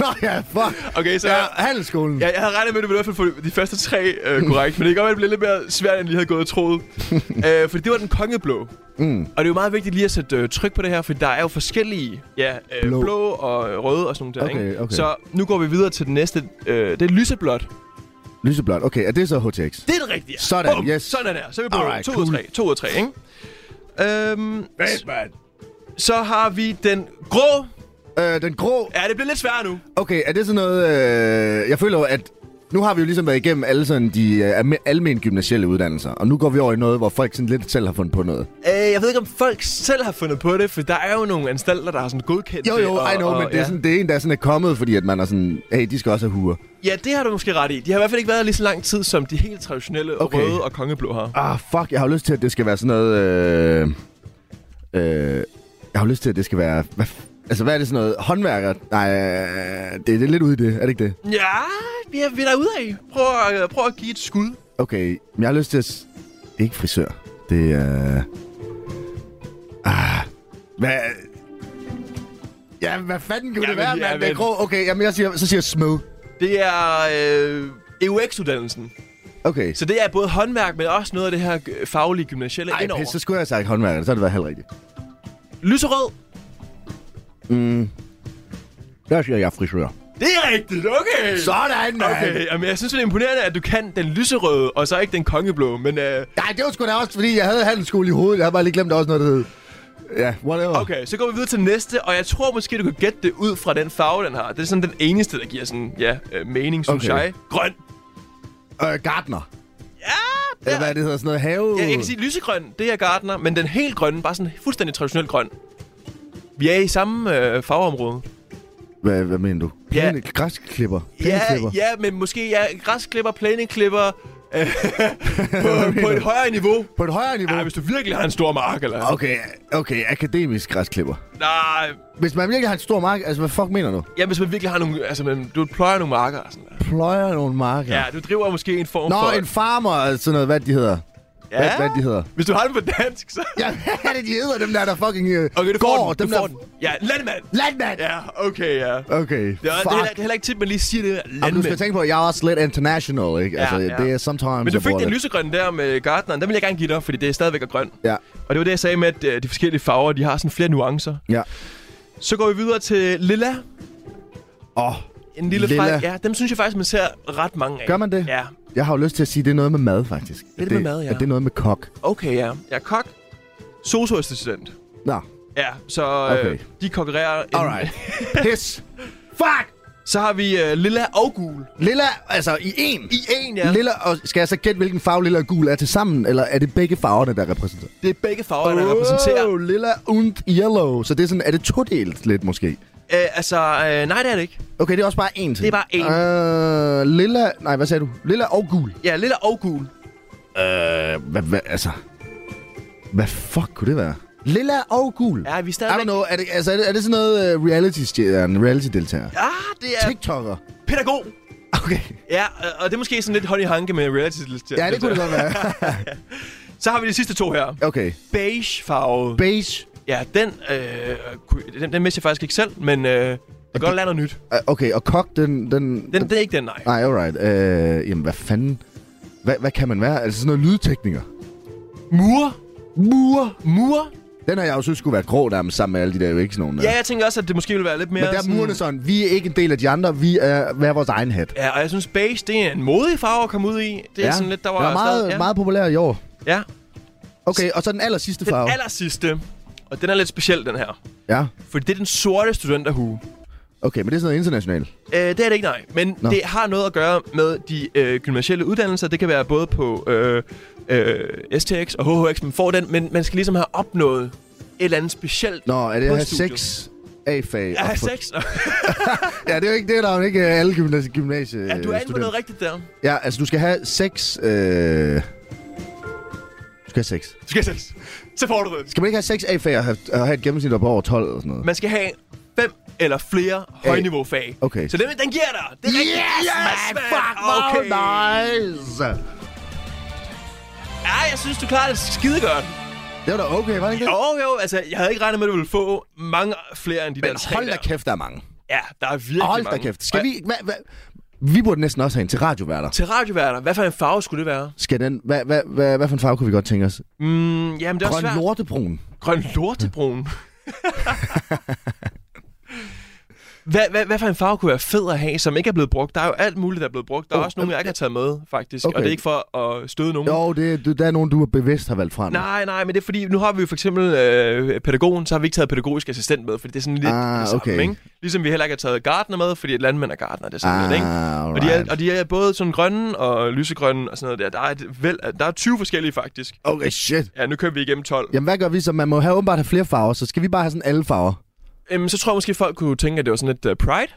S3: Nå ja, fuck.
S4: Okay, så...
S3: Ja,
S4: Ja.
S3: handelsskolen.
S4: Ja, jeg havde regnet med, at du ville i hvert fald få de første tre øh, korrekt, men det kan godt være, at det blev lidt mere svært, end jeg lige havde gået og troet. øh, fordi det var den kongeblå. Mm. Og det er jo meget vigtigt lige at sætte øh, tryk på det her, for der er jo forskellige ja, øh, blå.
S3: Blå.
S4: blå og øh, røde og sådan noget.
S3: Okay,
S4: ikke?
S3: okay.
S4: Så nu går vi videre til den næste. Øh, det er lyseblåt.
S3: Lyseblåt. Okay, er det så HTX?
S4: Det er det rigtige.
S3: Sådan,
S4: Bum,
S3: yes.
S4: Sådan der. Så er vi på
S3: Alright,
S4: 2 ud
S3: cool.
S4: af 3. 2 ud af 3, ikke? Øhm,
S3: Batman.
S4: så har vi den grå.
S3: Øh, den grå.
S4: Ja, det bliver lidt sværere nu.
S3: Okay, er det sådan noget... Øh, jeg føler jo, at nu har vi jo ligesom været igennem alle sådan de øh, alme- almen gymnasielle uddannelser, og nu går vi over i noget, hvor folk sådan lidt selv har fundet på noget.
S4: Øh, jeg ved ikke, om folk selv har fundet på det, for der er jo nogle anstalter, der har sådan godkendt
S3: Jo,
S4: det.
S3: jo, I know, men det er, sådan, det er en, der sådan er kommet, fordi at man er sådan, hey, de skal også have huer.
S4: Ja, det har du måske ret i. De har i hvert fald ikke været lige så lang tid, som de helt traditionelle okay.
S3: Okay.
S4: røde og kongeblå har.
S3: Ah, fuck, jeg har jo lyst til, at det skal være sådan noget... Øh, øh, jeg har jo lyst til, at det skal være... Hvad, f- altså, hvad er det sådan noget? Håndværker? Nej, øh, det, det er lidt ude i det, er det ikke det?
S4: Ja, vi er, vi er derude af. Prøv at, øh, prøv at give et skud.
S3: Okay, men jeg har lyst til at... s- Det er ikke frisør. Det er... Ah, hvad... Ja, hvad fanden kunne
S4: Jamen,
S3: det være, mand?
S4: jamen.
S3: Det er grå. Okay, jamen jeg siger, så siger jeg smed.
S4: Det er øh, EUX-uddannelsen.
S3: Okay.
S4: Så det er både håndværk, men også noget af det her øh, faglige gymnasielle Ej,
S3: Ej,
S4: indover.
S3: pis, så skulle jeg have sagt håndværker. Så har det været halvt rigtigt.
S4: Lyserød.
S3: Der siger jeg frisør.
S4: Det er rigtigt, okay.
S3: Sådan, mand! Okay.
S4: Okay, jamen, jeg synes, det er imponerende, at du kan den lyserøde, og så ikke den kongeblå, men... Øh,
S3: Nej, det var sgu da også, fordi jeg havde handelsskole i hovedet. Jeg havde bare lige glemt, der også noget, der hed... Ja, whatever.
S4: okay, så går vi videre til næste, og jeg tror måske, du kan gætte det ud fra den farve, den har. Det er sådan den eneste, der giver sådan, ja, øh, mening, synes
S3: Okay.
S4: okay. jeg. Grøn.
S3: Øh, gardner.
S4: Ja,
S3: Eller
S4: det er,
S3: hvad det hedder, sådan noget have...
S4: ja, jeg kan sige lysegrøn, det er gardner, men den helt grønne, bare sådan fuldstændig traditionel grøn. Vi er i samme øh, farveområde.
S3: Hvad, hvad mener du?
S4: Ja.
S3: Plæne, Græsklipper?
S4: Ja,
S3: Plæneklipper?
S4: ja, men måske ja, græsklipper, plæneklipper, øh, på, på et højere niveau.
S3: På et højere niveau?
S4: Ja, hvis du virkelig har en stor mark, eller...
S3: Okay, okay, akademisk græsklipper.
S4: Nej,
S3: Hvis man virkelig har en stor mark, altså hvad fuck mener du?
S4: ja, hvis man virkelig har nogle... Altså, man, du pløjer nogle marker og sådan der.
S3: Pløjer nogle marker?
S4: Ja, du driver måske en form
S3: Nå,
S4: for...
S3: en farmer og sådan noget, hvad de hedder.
S4: ja,
S3: Hvad, hvad de hedder.
S4: Hvis du har den på dansk, så...
S3: Ja, hvad er det, de hedder, dem der, der fucking øh,
S4: Okay, du
S3: går,
S4: får den.
S3: dem
S4: Du
S3: der...
S4: får den. Ja, landmand.
S3: Landmand!
S4: Ja, okay, ja.
S3: Okay,
S4: Det er, det, er,
S3: fuck.
S4: heller- det er heller ikke tit, man lige siger det. Landmand.
S3: Jamen, du skal tænke på, at jeg er også lidt international, ikke?
S4: Ja,
S3: altså,
S4: ja.
S3: det er sometimes...
S4: Men du
S3: jeg
S4: fik
S3: bruger
S4: den
S3: lidt.
S4: lysegrønne der med gardneren. Den vil jeg gerne give dig, fordi det er stadigvæk er grøn.
S3: Ja,
S4: Og det var det, jeg sagde med, at øh, de forskellige farver, de har sådan flere nuancer.
S3: ja.
S4: Så går vi videre til lilla.
S3: Åh, oh,
S4: En lille
S3: Lilla.
S4: fejl. Ja, dem synes jeg faktisk, man ser ret mange af.
S3: Gør man det?
S4: Ja.
S3: jeg har jo lyst til at sige, at det er noget med mad, faktisk. Det
S4: er det med mad, ja.
S3: At det er noget med kok.
S4: Okay, ja. Jeg er kok. Sosu-assistent.
S3: Nå,
S4: Ja, så
S3: Okay.
S4: øh, de konkurrerer. en-
S3: alright. Pis. Fuck!
S4: Så har vi øh, lilla og gul.
S3: Lilla, altså i én.
S4: I en, ja.
S3: Ja. Lilla, og skal jeg så gætte, hvilken farve lilla og gul er til sammen, eller er det begge farverne, der er repræsenteret?
S4: Det er begge farver, der repræsenterer.
S3: Oh, lilla und yellow. Så det er sådan, er det todelt lidt måske?
S4: Øh, altså, øh, nej, det er det ikke.
S3: Okay, det er også bare én ting.
S4: Det er bare én.
S3: Uh, lilla, nej, hvad sagde du? Lilla og gul.
S4: Ja, lilla og gul.
S3: Uh, hvad, hvad, altså... Hvad fuck kunne det være? Lilla og gul.
S4: Ja,
S3: I
S4: vi er
S3: don't
S4: stadigvæk...
S3: know, er det, altså, er det, er det sådan noget uh, reality-stjerne, reality-deltager? Ja.
S4: Ja, Ah, det er
S3: TikToker.
S4: pædagog.
S3: Okay.
S4: Ja, øh, og det er måske sådan lidt hånd i hanke med reality.
S3: Ja, det kunne det godt være.
S4: Så har vi de sidste to her.
S3: Okay.
S4: Beige farve.
S3: Beige.
S4: ja, den, øh, kunne- den, den mister jeg faktisk ikke selv, men øh, det kan godt lære noget nyt.
S3: Uh, okay, og kok, den... Den,
S4: Den, den er ikke den, nej.
S3: Nej, alright. Øh, jamen, hvad fanden? Hvad, hvad kan man være? Altså sådan noget lydtekniker.
S4: Mur. Mur. Mur.
S3: Den har jeg jo synes skulle være grå nærmest sammen med alle de der jo ikke sådan nogle. øh.
S4: Ja, jeg tænker også, at det måske ville være lidt mere
S3: Men der er
S4: sådan...
S3: murene sådan, vi er ikke en del af de andre, vi er hver vores egen hat.
S4: Ja, og jeg synes, beige, det er en modig farve at komme ud i. Det er sådan lidt, der var...
S3: Den er meget,
S4: stadig- ja.
S3: meget populær i år.
S4: ja.
S3: Okay, og så den aller sidste
S4: Den
S3: farve.
S4: aller sidste, og den er lidt speciel, den her.
S3: Ja,
S4: Fordi det er den sorte studenterhue.
S3: okay, men det er sådan noget internationalt.
S4: Øh, det er det ikke, nej. Men
S3: Nå.
S4: Nå. det har noget at gøre med de øh, gymnasielle uddannelser. Det kan være både på øh, øh, STX og HHX, man får den. Men man skal ligesom have opnået et eller andet specielt.
S3: Nå, er det
S4: På
S3: at have
S4: studiet.
S3: seks A-fag?
S4: Ja,
S3: og
S4: have
S3: få-
S4: sex.
S3: Ja, det er jo ikke det, der er jo ikke øh, alle gymnasie, gymnasie
S4: ja, du er inde på noget rigtigt der.
S3: Ja, altså du skal have seks... Øh... Du skal have seks.
S4: Du skal have sex. Så får du det.
S3: Skal man ikke have seks A-fag og have, og have et gennemsnit op over 12 eller sådan noget?
S4: Man skal have fem eller flere højniveaufag.
S3: Okay.
S4: Så den, den giver dig. Det er rigtigt. Mads, mand.
S3: nice!
S4: Ja, jeg synes, du klarer det skide godt.
S3: Det var da okay, var det ikke det?
S4: Jo, jo, altså, jeg havde ikke regnet med, at du ville få mange flere end de der
S3: Men
S4: tre
S3: hold da
S4: der.
S3: kæft, der er mange.
S4: Ja, der er virkelig
S3: Hold da
S4: mange.
S3: kæft.
S4: Og-
S3: Skal vi... Hva, hva, vi burde næsten også have en til radioværter.
S4: Til radioværter, hvad for en farve skulle det være?
S3: Skal den... Hvad, hvad, hvad, hvad for en farve kunne vi godt tænke os?
S4: Mm, jamen, det er
S3: Grøn
S4: også svært.
S3: lortebrun.
S4: Grøn lortebrun. hvad, hvad, hvad for en farve kunne være fed at have, som ikke er blevet brugt? Der er jo alt muligt, der er blevet brugt. Der er
S3: Oh,
S4: også nogle, jeg ikke har taget med, faktisk.
S3: okay.
S4: Og det er ikke for at støde nogen.
S3: Jo, det, det, der er nogen, du er bevidst har valgt frem.
S4: Nej, nej, men det er fordi, nu har vi jo for eksempel øh, pædagogen, så har vi ikke taget pædagogisk assistent med, fordi det er sådan lidt
S3: Ah,
S4: det samme,
S3: okay.
S4: ikke? Ligesom vi heller ikke har taget gardner med, fordi et landmand er gardner, det er sådan
S3: Ah,
S4: lidt, ikke? Og de,
S3: alright.
S4: er, og de er både sådan grønne og lysegrønne og sådan noget der. Der er, et, vel, der er 20 forskellige, faktisk.
S3: Okay, shit.
S4: Ja, nu kører vi igennem 12.
S3: Jamen, hvad gør vi så? Man må have åbenbart have flere farver, så skal vi bare have sådan alle farver?
S4: Øhm, så tror jeg måske, folk kunne tænke, at det var sådan lidt uh, pride.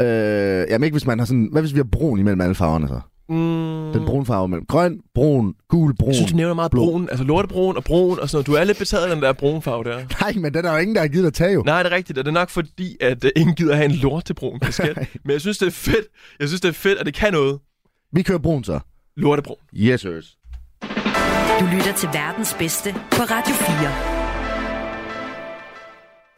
S3: Øh, jamen ikke hvis man har sådan... Hvad hvis vi har brun imellem alle farverne så?
S4: Mm.
S3: Den brune farve mellem grøn, brun, gul, brun.
S4: Jeg synes, du nævner meget
S3: Mm. blå.
S4: brun. Altså lortebrun og brun og sådan noget. Du er lidt betaget af den der brune farve der.
S3: Nej, men den er der jo ingen, der har givet at tage jo.
S4: Nej, det er rigtigt, og det er nok fordi, at uh, ingen gider have en lortebrun kasket. Men jeg synes, det er fedt. Jeg synes, det er fedt, og det kan noget.
S3: Vi kører brun så.
S4: Lortebrun.
S3: Yes, sirs.
S2: Du lytter til verdens bedste på Radio 4.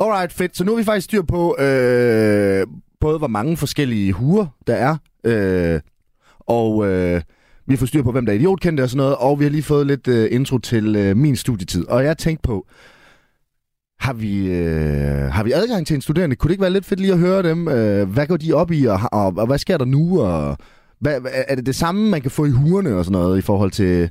S3: Alright, fedt. Så nu har vi faktisk styr på øh, både, hvor mange forskellige huer der er, øh, og øh, vi har fået styr på, hvem der er idiotkendte og sådan noget, og vi har lige fået lidt øh, intro til øh, min studietid. Og jeg tænkte på, har vi, øh, har vi adgang til en studerende? Kunne det ikke være lidt fedt lige at høre dem? Øh, hvad går de op i, og, og, og hvad sker der nu? Og, hvad, hvad- er det det samme, man kan få i hurene og sådan noget i forhold til...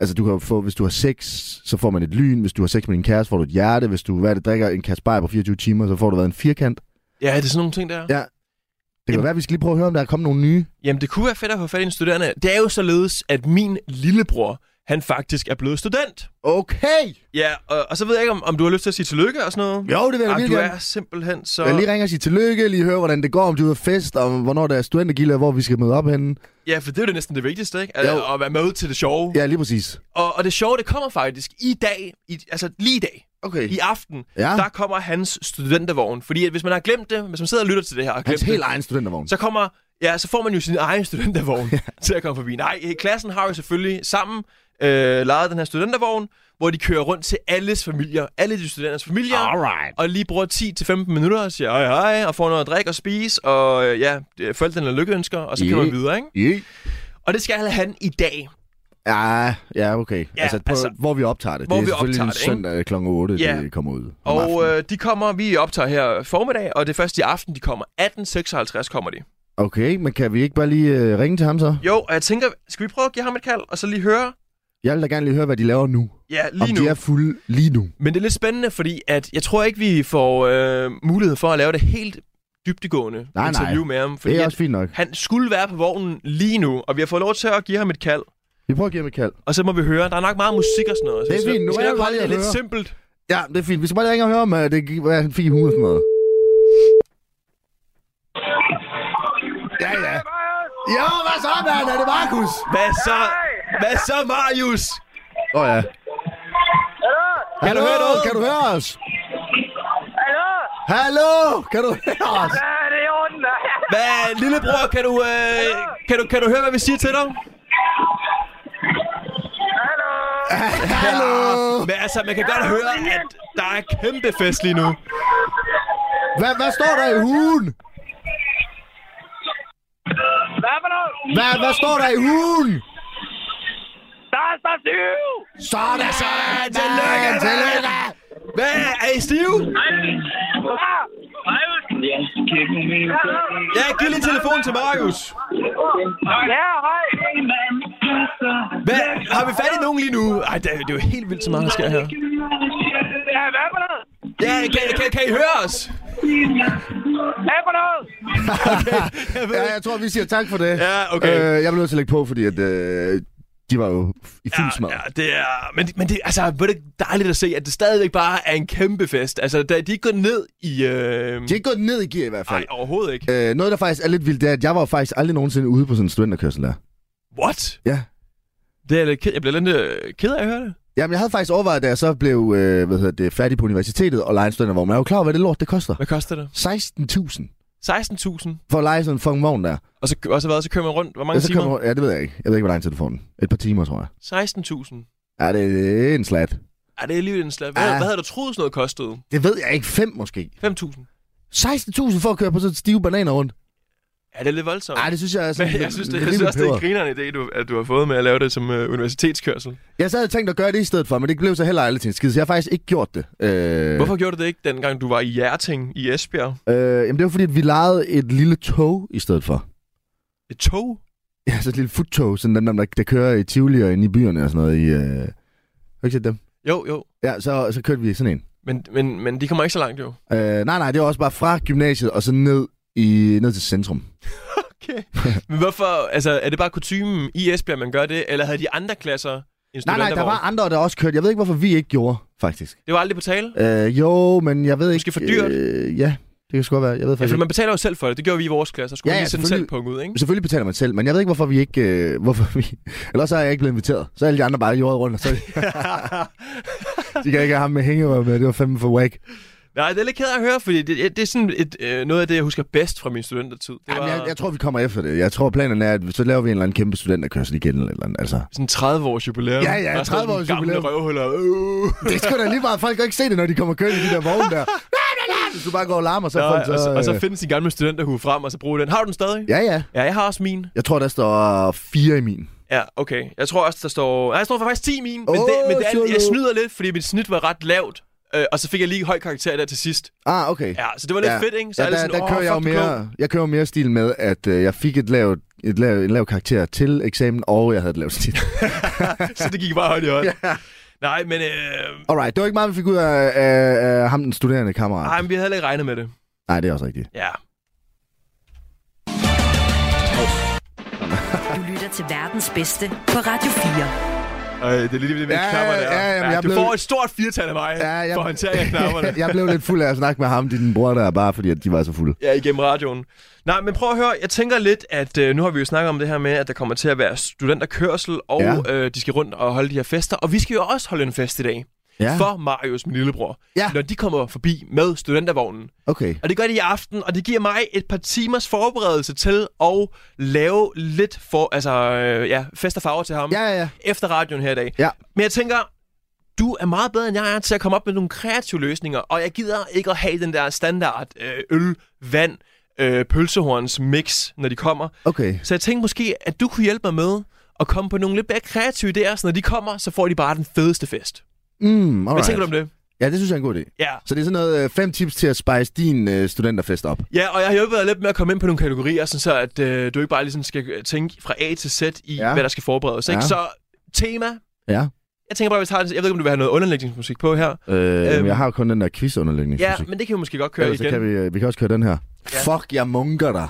S3: Altså, du kan jo få, hvis du har sex, så får man et lyn. Hvis du har sex med din kæreste, får du et hjerte. Hvis du hvad er det, drikker en kasse bajer på 24 timer, så får du været en firkant.
S4: Ja, det er sådan nogle ting der.
S3: Ja. Det kan
S4: Jamen-
S3: være, vi skal lige prøve at høre, om der er kommet nogle nye.
S4: Jamen, det kunne være fedt at få fat i en studerende. Det er jo således, at min lillebror, han faktisk er blevet student.
S3: Okay!
S4: Ja, og, og så ved jeg ikke, om, om du har lyst til at sige tillykke og sådan noget.
S3: Jo, det vil jeg da
S4: Jamen, du
S3: virkelig
S4: er
S3: gerne.
S4: simpelthen så...
S3: Jeg lige ringer og siger tillykke, lige høre, hvordan det går, om du er ude at fest, og hvornår der er studentergilde, og hvor vi skal møde op henne.
S4: Ja, for det er jo det næsten det vigtigste, ikke? Altså,
S3: Jo.
S4: at være med til det sjove.
S3: Ja, lige præcis.
S4: Og, og det sjove, det kommer faktisk i dag, i, altså lige i dag,
S3: Okay.
S4: i aften,
S3: Ja.
S4: der kommer hans studentervogn. Fordi at hvis man har glemt det, hvis man sidder og lytter til det her og har
S3: Hans
S4: glemt
S3: helt
S4: det,
S3: egen studentervogn.
S4: så kommer... Ja, så får man jo sin egen studentervogn til at komme forbi. Nej, øh, klassen har jo selvfølgelig sammen øh, lejet den her studentervogn, hvor de kører rundt til alles familier, alle de studenters familier,
S3: Alright.
S4: og lige bruger 10-15 minutter og siger hej hej, og får noget at drikke og spise, og øh, ja, øh, forældrene lykkeønsker, og så kører man
S3: Yeah.
S4: videre, ikke?
S3: Yeah.
S4: Og det skal han i dag.
S3: Ja, ja, okay. Ja, altså, på,
S4: altså-
S3: altså, hvor vi optager det.
S4: Hvor
S3: det er
S4: vi
S3: selvfølgelig
S4: optager det, ikke?
S3: søndag kl. 8,
S4: Ja.
S3: ja. det kommer ud. om
S4: Og
S3: aftenen.
S4: øh, de kommer, vi optager her formiddag, og det er først i aften, de kommer. 18.56 kommer de.
S3: Okay, men kan vi ikke bare lige øh, ringe til ham så?
S4: Jo, og jeg tænker, skal vi prøve at give ham et kald, og så lige høre?
S3: Jeg vil da gerne lige høre, hvad de laver nu.
S4: Ja, lige
S3: Om
S4: nu.
S3: de er fulde lige nu.
S4: Men det er lidt spændende, fordi at jeg tror ikke, vi får øh, mulighed for at lave det helt dybtegående
S3: nej.
S4: interview med ham. Fordi
S3: Det er
S4: at
S3: også fint nok.
S4: han skulle være på vognen lige nu, og vi har fået lov til at give ham et kald.
S3: Vi prøver at give ham et kald.
S4: Og så må vi høre, der er nok meget musik og sådan noget. så
S3: Det er
S4: vi skal-
S3: fint, nu
S4: vi skal
S3: er
S4: nok
S3: jeg
S4: holde
S3: bare
S4: det
S3: lige at
S4: lidt
S3: høre.
S4: simpelt.
S3: Ja, det er fint. Vi skal bare lige ringe og høre, om øh, det gik, hvad han fik i hovedet og sådan noget. Ja, ja. Jo, hvad så, mand? Er det Markus?
S4: Hvad så, hvad så Marius?
S3: Åh, oh, ja.
S4: Kan du høre noget?
S3: Kan du høre os? Hallo? Hallo? Kan du høre os?
S4: Hvad, lillebror, kan du, øh, kan, du, kan du høre, hvad vi siger til dig?
S3: Hallo?
S4: Men altså, man kan godt høre, at der er kæmpe fest lige nu.
S3: Hvad, hvad står der i hugen?
S7: Hvad for noget?
S3: Hvad, hvad står der i hugen?
S7: Der er der syv!
S3: Sådan, sådan. Tillykke, tillykke.
S4: Hvad, er I stive?
S7: Ah!
S4: Ja, giv lige en telefon til Marius.
S7: Ja, hej!
S4: Hvad, har vi fat i nogen lige nu? Ej, det, er- det er jo helt vildt så meget, der sker her.
S7: Ja, hvad for noget?
S4: Ja, kan, kan, kan I høre os?
S7: Hvad for noget?
S4: Jeg ved
S3: Ja,
S4: ikke.
S3: jeg tror, vi siger tak for det.
S4: Ja, okay.
S3: Øh, jeg blev nødt til at lægge på, fordi at, øh, de var jo i fuld smad.
S4: Ja, det er... Men, men det, altså, hvor er det dejligt at se, at det stadigvæk bare er en kæmpe fest. Altså, da de er gået ned i... Øh...
S3: De er ikke gået ned i gear i hvert
S4: Nej,
S3: fald.
S4: overhovedet ikke.
S3: Øh, noget, der faktisk er lidt vildt, det er, at jeg var jo faktisk aldrig nogensinde ude på sådan en studenterkørsel der.
S4: What?
S3: Ja.
S4: Det er jeg lidt ked. Jeg bliver lidt øh, ked af at høre det.
S3: Jamen, jeg havde faktisk overvejet, da jeg så blev øh, hvad hedder det, færdig på universitetet og lejede en studentervogn. Men jeg er jo klar over, hvad det lort, det koster.
S4: Hvad koster det?
S3: 16.000
S4: 16.000.
S3: for at lege sådan en fucking vogn der.
S4: Og så, og så, hvad, så kører man rundt. Hvor
S3: Ja,
S4: mange
S3: så
S4: timer?
S3: kommer, ja, det ved jeg ikke. Jeg ved ikke, hvor lang tid du får den. Et par timer, tror jeg.
S4: 16.000.
S3: Ja, det er en slat.
S4: Ej, det er alligevel en slag. Hvad,
S3: Ja.
S4: hvad havde du troet, sådan noget kostede?
S3: Det ved jeg ikke. Fem måske.
S4: 5.000.
S3: 16.000 for at køre på sådan stive bananer rundt.
S4: Ja, det er lidt voldsomt.
S3: Nej, det synes jeg er sådan
S4: men jeg
S3: lidt-
S4: synes, det, jeg
S3: lidt
S4: synes også, det er
S3: peber.
S4: en grineren idé, du, at du har fået med at lave det som øh, universitetskørsel.
S3: Jeg så havde tænkt at gøre det i stedet for, men det blev så heller aldrig til en skid, så jeg har faktisk ikke gjort det. Øh,
S4: Hvorfor gjorde du det ikke, dengang du var i Hjerting i Esbjerg?
S3: Øh, jamen det var fordi, at vi lejede et lille tog i stedet for.
S4: Et tog?
S3: Ja, så et lille futtog, sådan den, der, der kører i Tivoli og inde i byerne og sådan noget. I, øh... Har du ikke set dem?
S4: Jo, jo.
S3: Ja, så, så kørte vi i sådan en.
S4: Men, men, men de kommer ikke så langt, jo.
S3: Øh, nej, nej, det var også bare fra gymnasiet og så ned, i, ned til centrum.
S4: Okay. Men hvorfor? Altså, er det bare kutumen i Esbjerg, man gør det? Eller havde de andre klasser en
S3: Nej, nej, der
S4: studentervogn?
S3: var andre, der også kørte. Jeg ved ikke, hvorfor vi ikke gjorde, faktisk.
S4: Det var aldrig på tale?
S3: Øh, jo, men jeg ved ikke...
S4: Måske for dyrt?
S3: Øh, ja, det kan sgu godt være. Jeg ved
S4: Ja,
S3: faktisk ikke.
S4: for Altså, man betaler jo selv for det. Det gjorde vi i vores klasse. Så skulle
S3: Ja,
S4: ja,
S3: ja,
S4: lige sende selv
S3: selvfølgelig.
S4: punkt ud, ikke?
S3: Mm-hmm. Selvfølgelig betaler man selv, men jeg ved ikke, hvorfor vi ikke... Øh, hvorfor vi... Ellers så er jeg ikke blevet inviteret. Så er alle de andre bare jordet rundt, og så... de kan ikke have ham med hængerøv med. Det var fandme for whack.
S4: Nej, det er lidt ked af at høre, fordi det, det er sådan et, øh, noget af det, jeg husker bedst fra min studentertid. Det
S3: Jamen,
S4: var
S3: jeg, jeg, tror, vi kommer efter det. Jeg tror, planen er, at så laver vi en eller anden kæmpe studenterkørsel igen, eller et eller andet. Altså.
S4: sådan 30 års jubilæum.
S3: Ja, ja,
S4: Og sådan
S3: 30 års
S4: Gamle
S3: jubilæum.
S4: røvhuller. Øh.
S3: Det skal da lige bare, folk kan ikke se det, når de kommer kørende i de der vogne der. Nej, nej, Hvis du bare går og larmer, så
S4: Nå,
S3: får den så...
S4: og, så, og så
S3: øh,
S4: finde sin gamle studenterhue frem, og så bruge den. Har du den stadig?
S3: Ja, ja.
S4: Ja, jeg har også min.
S3: Jeg tror, der står fire i min.
S4: Ja, okay. Jeg tror også, der står... Nej, jeg tror faktisk 10 i min, men, det,
S3: Åh,
S4: men det er,
S3: solo.
S4: jeg snyder lidt, fordi mit snit var ret lavt. Øh, og så fik jeg lige høj karakter der til sidst.
S3: Ah, okay.
S4: Ja, så det var lidt fedt, ikke? Så
S3: ja,
S4: er det
S3: der,
S4: sådan,
S3: der
S4: åh,
S3: kører jeg jo
S4: fuck, du er klog.
S3: mere, jeg kører jo mere stil med, at øh, jeg fik et lavt, et lavt, en lav karakter til eksamen, og jeg havde et lavt snit.
S4: så det gik bare hånd i hånd. Nej, men, øh,
S3: Alright, det var ikke meget, vi fik ud af, af, af ham, den studerende kammerat.
S4: ej, men vi havde heller ikke regnet med det.
S3: Nej, det er også rigtigt.
S4: Ja.
S2: Du lytter til verdens bedste på Radio 4.
S4: Øh, det er lige det med
S3: Ja,
S4: knapperne.
S3: ja, jamen, jeg
S4: du
S3: blev-
S4: får et stort firtal af mig
S3: Ja, jeg-
S4: for håndtering af knapperne.
S3: jeg blev lidt fuld af at snakke med ham, din bror der, bare fordi at de var så fulde.
S4: Ja, igennem radioen. Nej, men prøv at høre, jeg tænker lidt, at øh, nu har vi jo snakket om det her med, at der kommer til at være studenterkørsel, og
S3: Ja.
S4: ja. øh, de skal rundt og holde de her fester, og vi skal jo også holde en fest i dag.
S3: Ja,
S4: For Marius, min lillebror.
S3: Ja.
S4: Når de kommer forbi med studentervognen.
S3: okay.
S4: Og det gør de i aften, og det giver mig et par timers forberedelse til at lave lidt for, altså, øh, ja, fest og farver til ham.
S3: Ja, ja, ja.
S4: efter radioen her i dag.
S3: Ja.
S4: Men jeg tænker, du er meget bedre end jeg er til at komme op med nogle kreative løsninger, og jeg gider ikke at have den der standard øh, øl, vand, øh, pølsehorns mix, når de kommer.
S3: Okay.
S4: Så jeg tænkte måske, at du kunne hjælpe mig med at komme på nogle lidt mere kreative idéer, så når de kommer, så får de bare den fedeste fest.
S3: Mm, alright.
S4: Hvad tænker du om det?
S3: Ja, det synes jeg er en god idé.
S4: Ja.
S3: Så det er sådan noget øh, fem tips til at spice din øh, studenterfest op.
S4: Ja, og jeg har hjulpet dig lidt med at komme ind på nogle kategorier, sådan så at øh, du ikke bare ligesom skal øh, tænke fra A til Z i,
S3: Ja.
S4: ja. hvad der skal forberedes. Ikke?
S3: Ja.
S4: Så tema.
S3: Ja.
S4: Jeg tænker bare, hvis jeg, har, jeg ved ikke, om du vil have noget underlægningsmusik på her.
S3: Øh, øhm,
S4: Øhm.
S3: jeg har jo kun den der quizunderlægning.
S4: Ja, men det kan vi måske godt køre
S3: Ellers så
S4: igen.
S3: kan vi, øh, vi kan også køre den her. Ja.
S4: Ja.
S3: Fuck, jeg munker dig.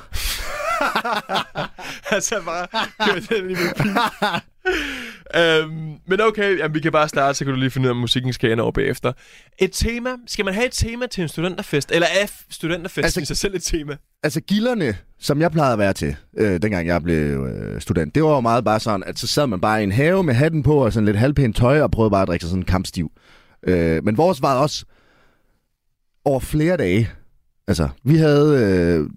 S4: altså bare køre den i min bil. øhm, men okay, jamen, vi kan bare starte, så kan du lige finde ud af, om musikken skal ende over bagefter. Et tema. Skal man have et tema til en studenterfest? Eller er studenterfest
S3: Altså-
S4: altså, i sig selv et tema?
S3: Altså gilderne, som jeg plejede at være til, øh, dengang jeg blev øh, student, det var jo meget bare sådan, at så sad man bare i en have med hatten på og sådan lidt halvpænt tøj og prøvede bare at drikke sig sådan kampstiv. Øh, men vores var også over flere dage. Altså, vi havde, øh,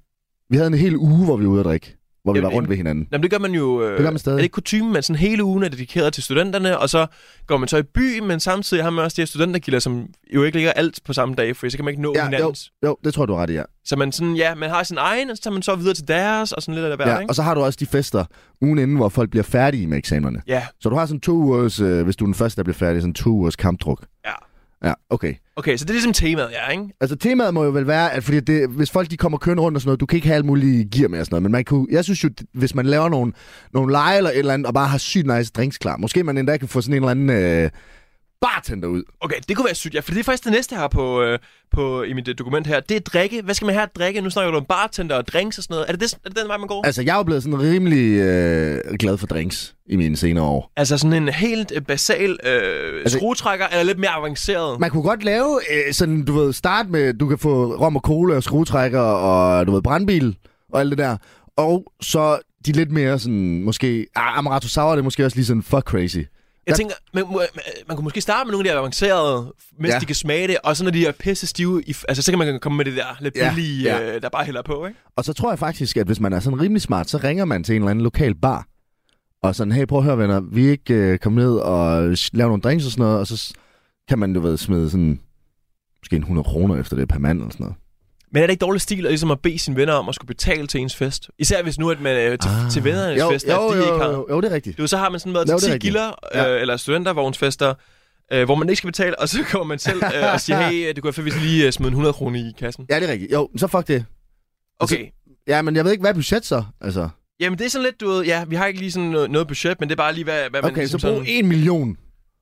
S3: vi havde en hel uge, hvor vi var ude at drikke. Hvor vi
S4: Jamen,
S3: var rundt ved hinanden.
S4: Jamen, det gør man jo... Øh,
S3: Det gør man stadig.
S4: Er det ikke kutumen, at sådan hele ugen er dedikeret til studenterne, og så går man så i by, men samtidig har man også de her studentergilder, som jo ikke ligger alt på samme dag, for så kan man ikke nå ja,
S3: jo,
S4: hinandens. Jo.
S3: jo, det tror jeg, du er ret i, ja.
S4: Så man sådan, ja, man har sin egen, og så tager man så videre til deres, og sådan lidt af det hver,
S3: ja.
S4: ikke?
S3: Og så har du også de fester ugen inden, hvor folk bliver færdige med eksamenerne.
S4: Ja,
S3: Så du har sådan to ugers, øh, hvis du er den første, der bliver færdig, sådan to ugers kampdruk.
S4: ja.
S3: Ja, okay.
S4: Okay, så det er ligesom temaet, ja, ikke?
S3: Altså temaet må jo vel være, at fordi det, hvis folk de kommer kørende rundt og sådan noget, du kan ikke have alle mulige gear med og sådan noget, men man kunne, jeg synes jo, hvis man laver nogle, nogle lege eller et eller andet, og bare har sygt nice drinks klar, måske man endda kan få sådan en eller anden øh, bartender ud.
S4: Okay, det kunne være sygt, ja, for det er faktisk det næste her på, øh, på, i mit øh, dokument her. Det er drikke. Hvad skal man have at drikke? Nu snakker du om bartender og drinks og sådan noget. Er det, det er det den vej, man går?
S3: Altså jeg er jo blevet sådan rimelig øh, glad for drinks i mine senere år.
S4: Altså sådan en helt øh, basal øh,
S3: Altså-
S4: altså, skruetrækker, eller lidt mere avanceret?
S3: Man kunne godt lave øh, sådan, du ved, start med, du kan få rom og cola og skruetrækker og du ved, brandbil og alt det der, og så de lidt mere sådan, måske, ah, Amaretto Sour, det er måske også lige sådan, fuck crazy.
S4: Jeg
S3: der-
S4: tænker, man, man, man kunne måske starte med nogle af de avancerede, mens
S3: Ja.
S4: ja. de kan smage det, og så når de er pisse stive, i, altså så kan man komme med det der lidt
S3: Ja,
S4: billige, ja,
S3: ja.
S4: Øh, der bare hælder på, ikke?
S3: Og så tror jeg faktisk, at hvis man er sådan rimelig smart, så ringer man til en eller anden lokal bar. Og sådan, hey, prøv at høre, venner, vi er ikke øh, kommet ned og s- lave nogle drinks og sådan noget, og så s- kan man, du ved, smide sådan måske en 100 kroner efter det per mand eller sådan noget.
S4: Men er det ikke dårlig stil at, ligesom at bede sine venner om at skulle betale til ens fest? Især hvis nu at man øh, til, ah. til vennernes fest, at de ikke har...
S3: jo, jo, det er rigtigt.
S4: Du, ved, så har man sådan
S3: Jo,
S4: været
S3: det er
S4: til 10
S3: rigtigt.
S4: gilder,
S3: Ja.
S4: øh, eller studentervognsfester, øh, hvor man ikke skal betale, og så kommer man selv øh, og siger, hey, øh, det kunne jeg faktisk lige øh, smide en 100 kroner i kassen.
S3: Ja, det er rigtigt. Jo, så fuck det.
S4: Okay,
S3: Ja, men jeg ved ikke, hvad er budget så? Altså,
S4: jamen det er sådan lidt, du ved, ja, vi har ikke lige sådan noget, noget budget, men det er bare lige, hvad, hvad man...
S3: okay,
S4: ligesom
S3: så brug
S4: sådan...
S3: en million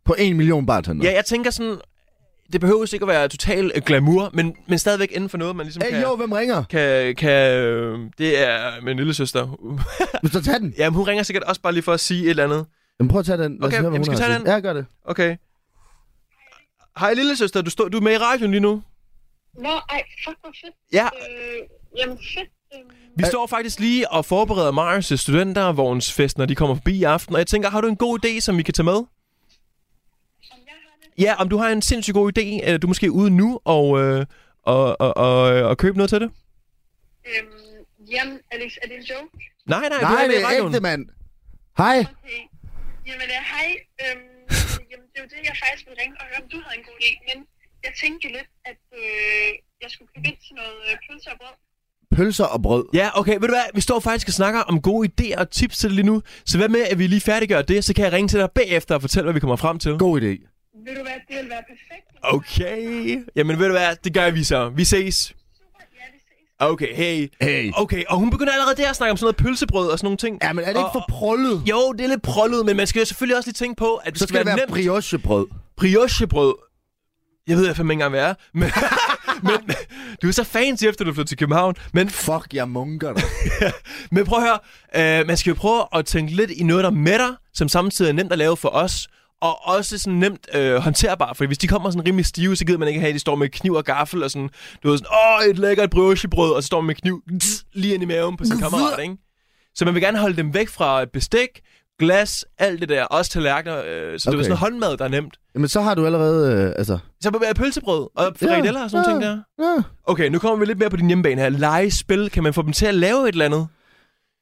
S3: på en million bartender.
S4: Ja, jeg tænker sådan, det behøver ikke at være total øh, glamour, men, men stadigvæk inden for noget, man ligesom
S3: Hey,
S4: kan...
S3: jo, hvem ringer?
S4: Kan, kan, øh, det er min lille søster.
S3: Så tag den.
S4: jamen, hun ringer sikkert også bare lige for at sige et eller andet.
S3: Jamen, prøv at tage den. Lad os
S4: Okay,
S3: høre, hvad
S4: jamen,
S3: hun har
S4: skal vi tage
S3: at sige. Ja, gør det.
S4: Okay. Hej, lille søster, du, stå, du er med i radioen lige nu.
S8: Nå, ej, fuck, hvor fedt.
S4: Ja,
S8: Øh, jamen, fedt. Øh,
S4: Vi står faktisk lige og forbereder Marius' studentervognsfest, når de kommer forbi i aften. Og jeg tænker, har du en god idé, som vi kan tage med?
S8: om jeg har det.
S4: Ja, om du har en sindssygt god idé. øh, Du er måske ude nu og, øh, og, og, og, og købe noget til det?
S8: Øhm, jamen, Alex, er det en joke?
S4: Nej, nej, du
S3: Nej,
S4: er med
S3: det
S4: i
S3: er
S4: radioen.
S3: ægte, mand. Hej.
S8: Okay. Jamen, øh, hej. Øhm, jamen, det er jo det, jeg faktisk ville ringe og høre, om du havde en god idé. Men jeg tænkte jo lidt, at øh, jeg skulle købe ind til noget øh, pølser og brød.
S3: Pølser og brød.
S4: Ja, okay, ved du hvad? Vi står faktisk og snakker om gode idéer og tips til det lige nu. Så hvad med, at vi lige færdiggør det, så kan jeg ringe til dig bagefter og fortælle, hvad vi kommer frem til.
S3: God idé.
S8: Vil du hvad, det ville være perfekt.
S4: Okay. Jamen ved du hvad, det gør vi så. Vi ses.
S8: Super, ja, vi ses.
S4: Okay, hey.
S3: Hey.
S4: Okay, og hun begynder allerede der at snakke om sådan noget pølsebrød og sådan nogle ting.
S3: Ja, men er det ikke
S4: Og-
S3: for prollet?
S4: Jo, det er lidt prollet, men man skal jo selvfølgelig også lige tænke på, at det
S3: Så
S4: skal, være, nemt.
S3: briochebrød.
S4: briochebrød. Jeg ved jeg fandme ikke engang, hvad er. Men, men du er så fancy, efter du flyttede til København. Men,
S3: Fuck, jeg munker dig.
S4: men prøv at høre, øh, man skal jo prøve at tænke lidt i noget, der mætter, som samtidig er nemt at lave for os. Og også sådan nemt øh, håndterbar, for hvis de kommer sådan rimelig stive, så gider man ikke have, at de står med kniv og gaffel og sådan, du ved sådan, åh, et lækkert briochebrød, og så står man med kniv tss, lige ind i maven på sin kammerat, ikke? Så man vil gerne holde dem væk fra bestik, glas, alt det der, også tallerkener, øh, så okay. det er
S3: Okay.
S4: sådan håndmad, der er nemt.
S3: Jamen, så har du allerede, øh, altså...
S4: Så er pølsebrød og frikadeller og sådan
S3: ja,
S4: ja. ting der.
S3: Ja.
S4: Okay, nu kommer vi lidt mere på din hjemmebane her. Legespil, kan man få dem til at lave et eller andet?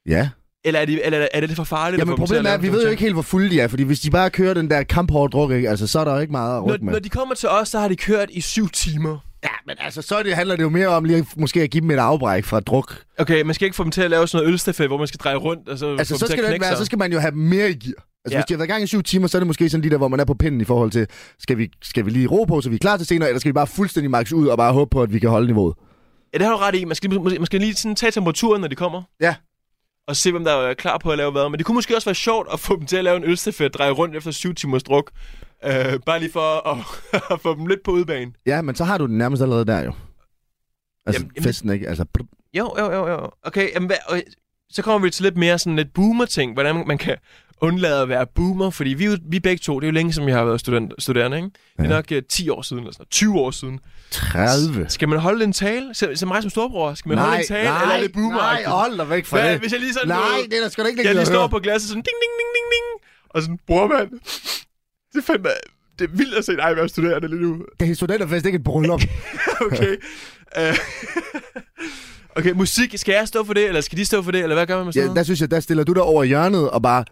S3: ja.
S4: Eller er det, eller er det lidt for farligt
S3: Jamen,
S4: at få dem til
S3: problemet
S4: at
S3: er,
S4: lave
S3: at vi
S4: sådan
S3: ved jo
S4: nogle
S3: ikke helt, hvor fulde de er, fordi hvis de bare kører den der kamphårde druk, ikke, altså, så er der jo ikke meget at
S4: ting?
S3: rykke
S4: Når,
S3: med.
S4: når de kommer til os, så har de kørt i syv timer.
S3: Ja, men altså, så er det, handler det jo mere om lige at- måske at give dem et afbræk fra druk.
S4: Okay, man skal ikke få dem til at lave sådan noget ølstafet, hvor man skal dreje rundt og så
S3: Altså,
S4: få
S3: så
S4: dem
S3: skal,
S4: til at
S3: det
S4: knække
S3: ikke være, så
S4: sig.
S3: skal man jo have dem mere i gear. Altså,
S4: Ja.
S3: ja. hvis de har været i gang i syv timer, så er det måske sådan lige der, hvor man er på pinden i forhold til, skal vi, skal vi lige ro på, så vi er klar til senere, eller skal vi bare fuldstændig max ud og bare håbe på, at vi kan holde niveauet?
S4: Ja, det har du ret i. Man skal, måske- man skal lige sådan tage temperaturen, når de kommer.
S3: Ja.
S4: Og se, hvem der er klar på at lave hvad. Men det kunne måske også være sjovt at få dem til at lave en ølstafet, dreje rundt efter syv timers druk. Øh, bare lige for at, at få dem lidt på udbanen.
S3: Ja, men så har du den nærmest allerede der jo. Altså,
S4: Jamen,
S3: jamen,
S4: jamen-
S3: festen ikke? Altså, brr.
S4: Jo, jo, jo, jo. Okay, jamen, hvad, øh, så kommer vi til lidt mere sådan lidt boomer-ting. Hvordan man kan undlade at være boomer. Fordi vi, er jo- vi begge to, det er jo længe, som jeg har været student, studerende, ikke? Det er
S3: Ja.
S4: nok øh, 10 år siden, eller sådan noget, 20 år siden.
S3: 30.
S4: Skal man holde en tale? Som, som mig som storbror, skal man holde en tale? eller er det boomer
S3: nej, hold dig væk fra
S4: Hvad,
S3: det.
S4: hvis jeg lige sådan...
S3: nej,
S4: øh,
S3: det er der sgu da ikke
S4: jeg lige
S3: at
S4: står
S3: høre.
S4: på glasset sådan, ding, ding, ding, ding, ding. Og sådan, bror mand, det er fandme... Det er vildt at se dig være studerende lige nu.
S3: Det er studenterfest, ikke et bryllup.
S4: Okay. Øh, okay, musik. Skal jeg stå for det, eller skal de stå for det, eller hvad gør man med
S3: ja,
S4: sådan
S3: der synes jeg, der stiller du dig over hjørnet og bare...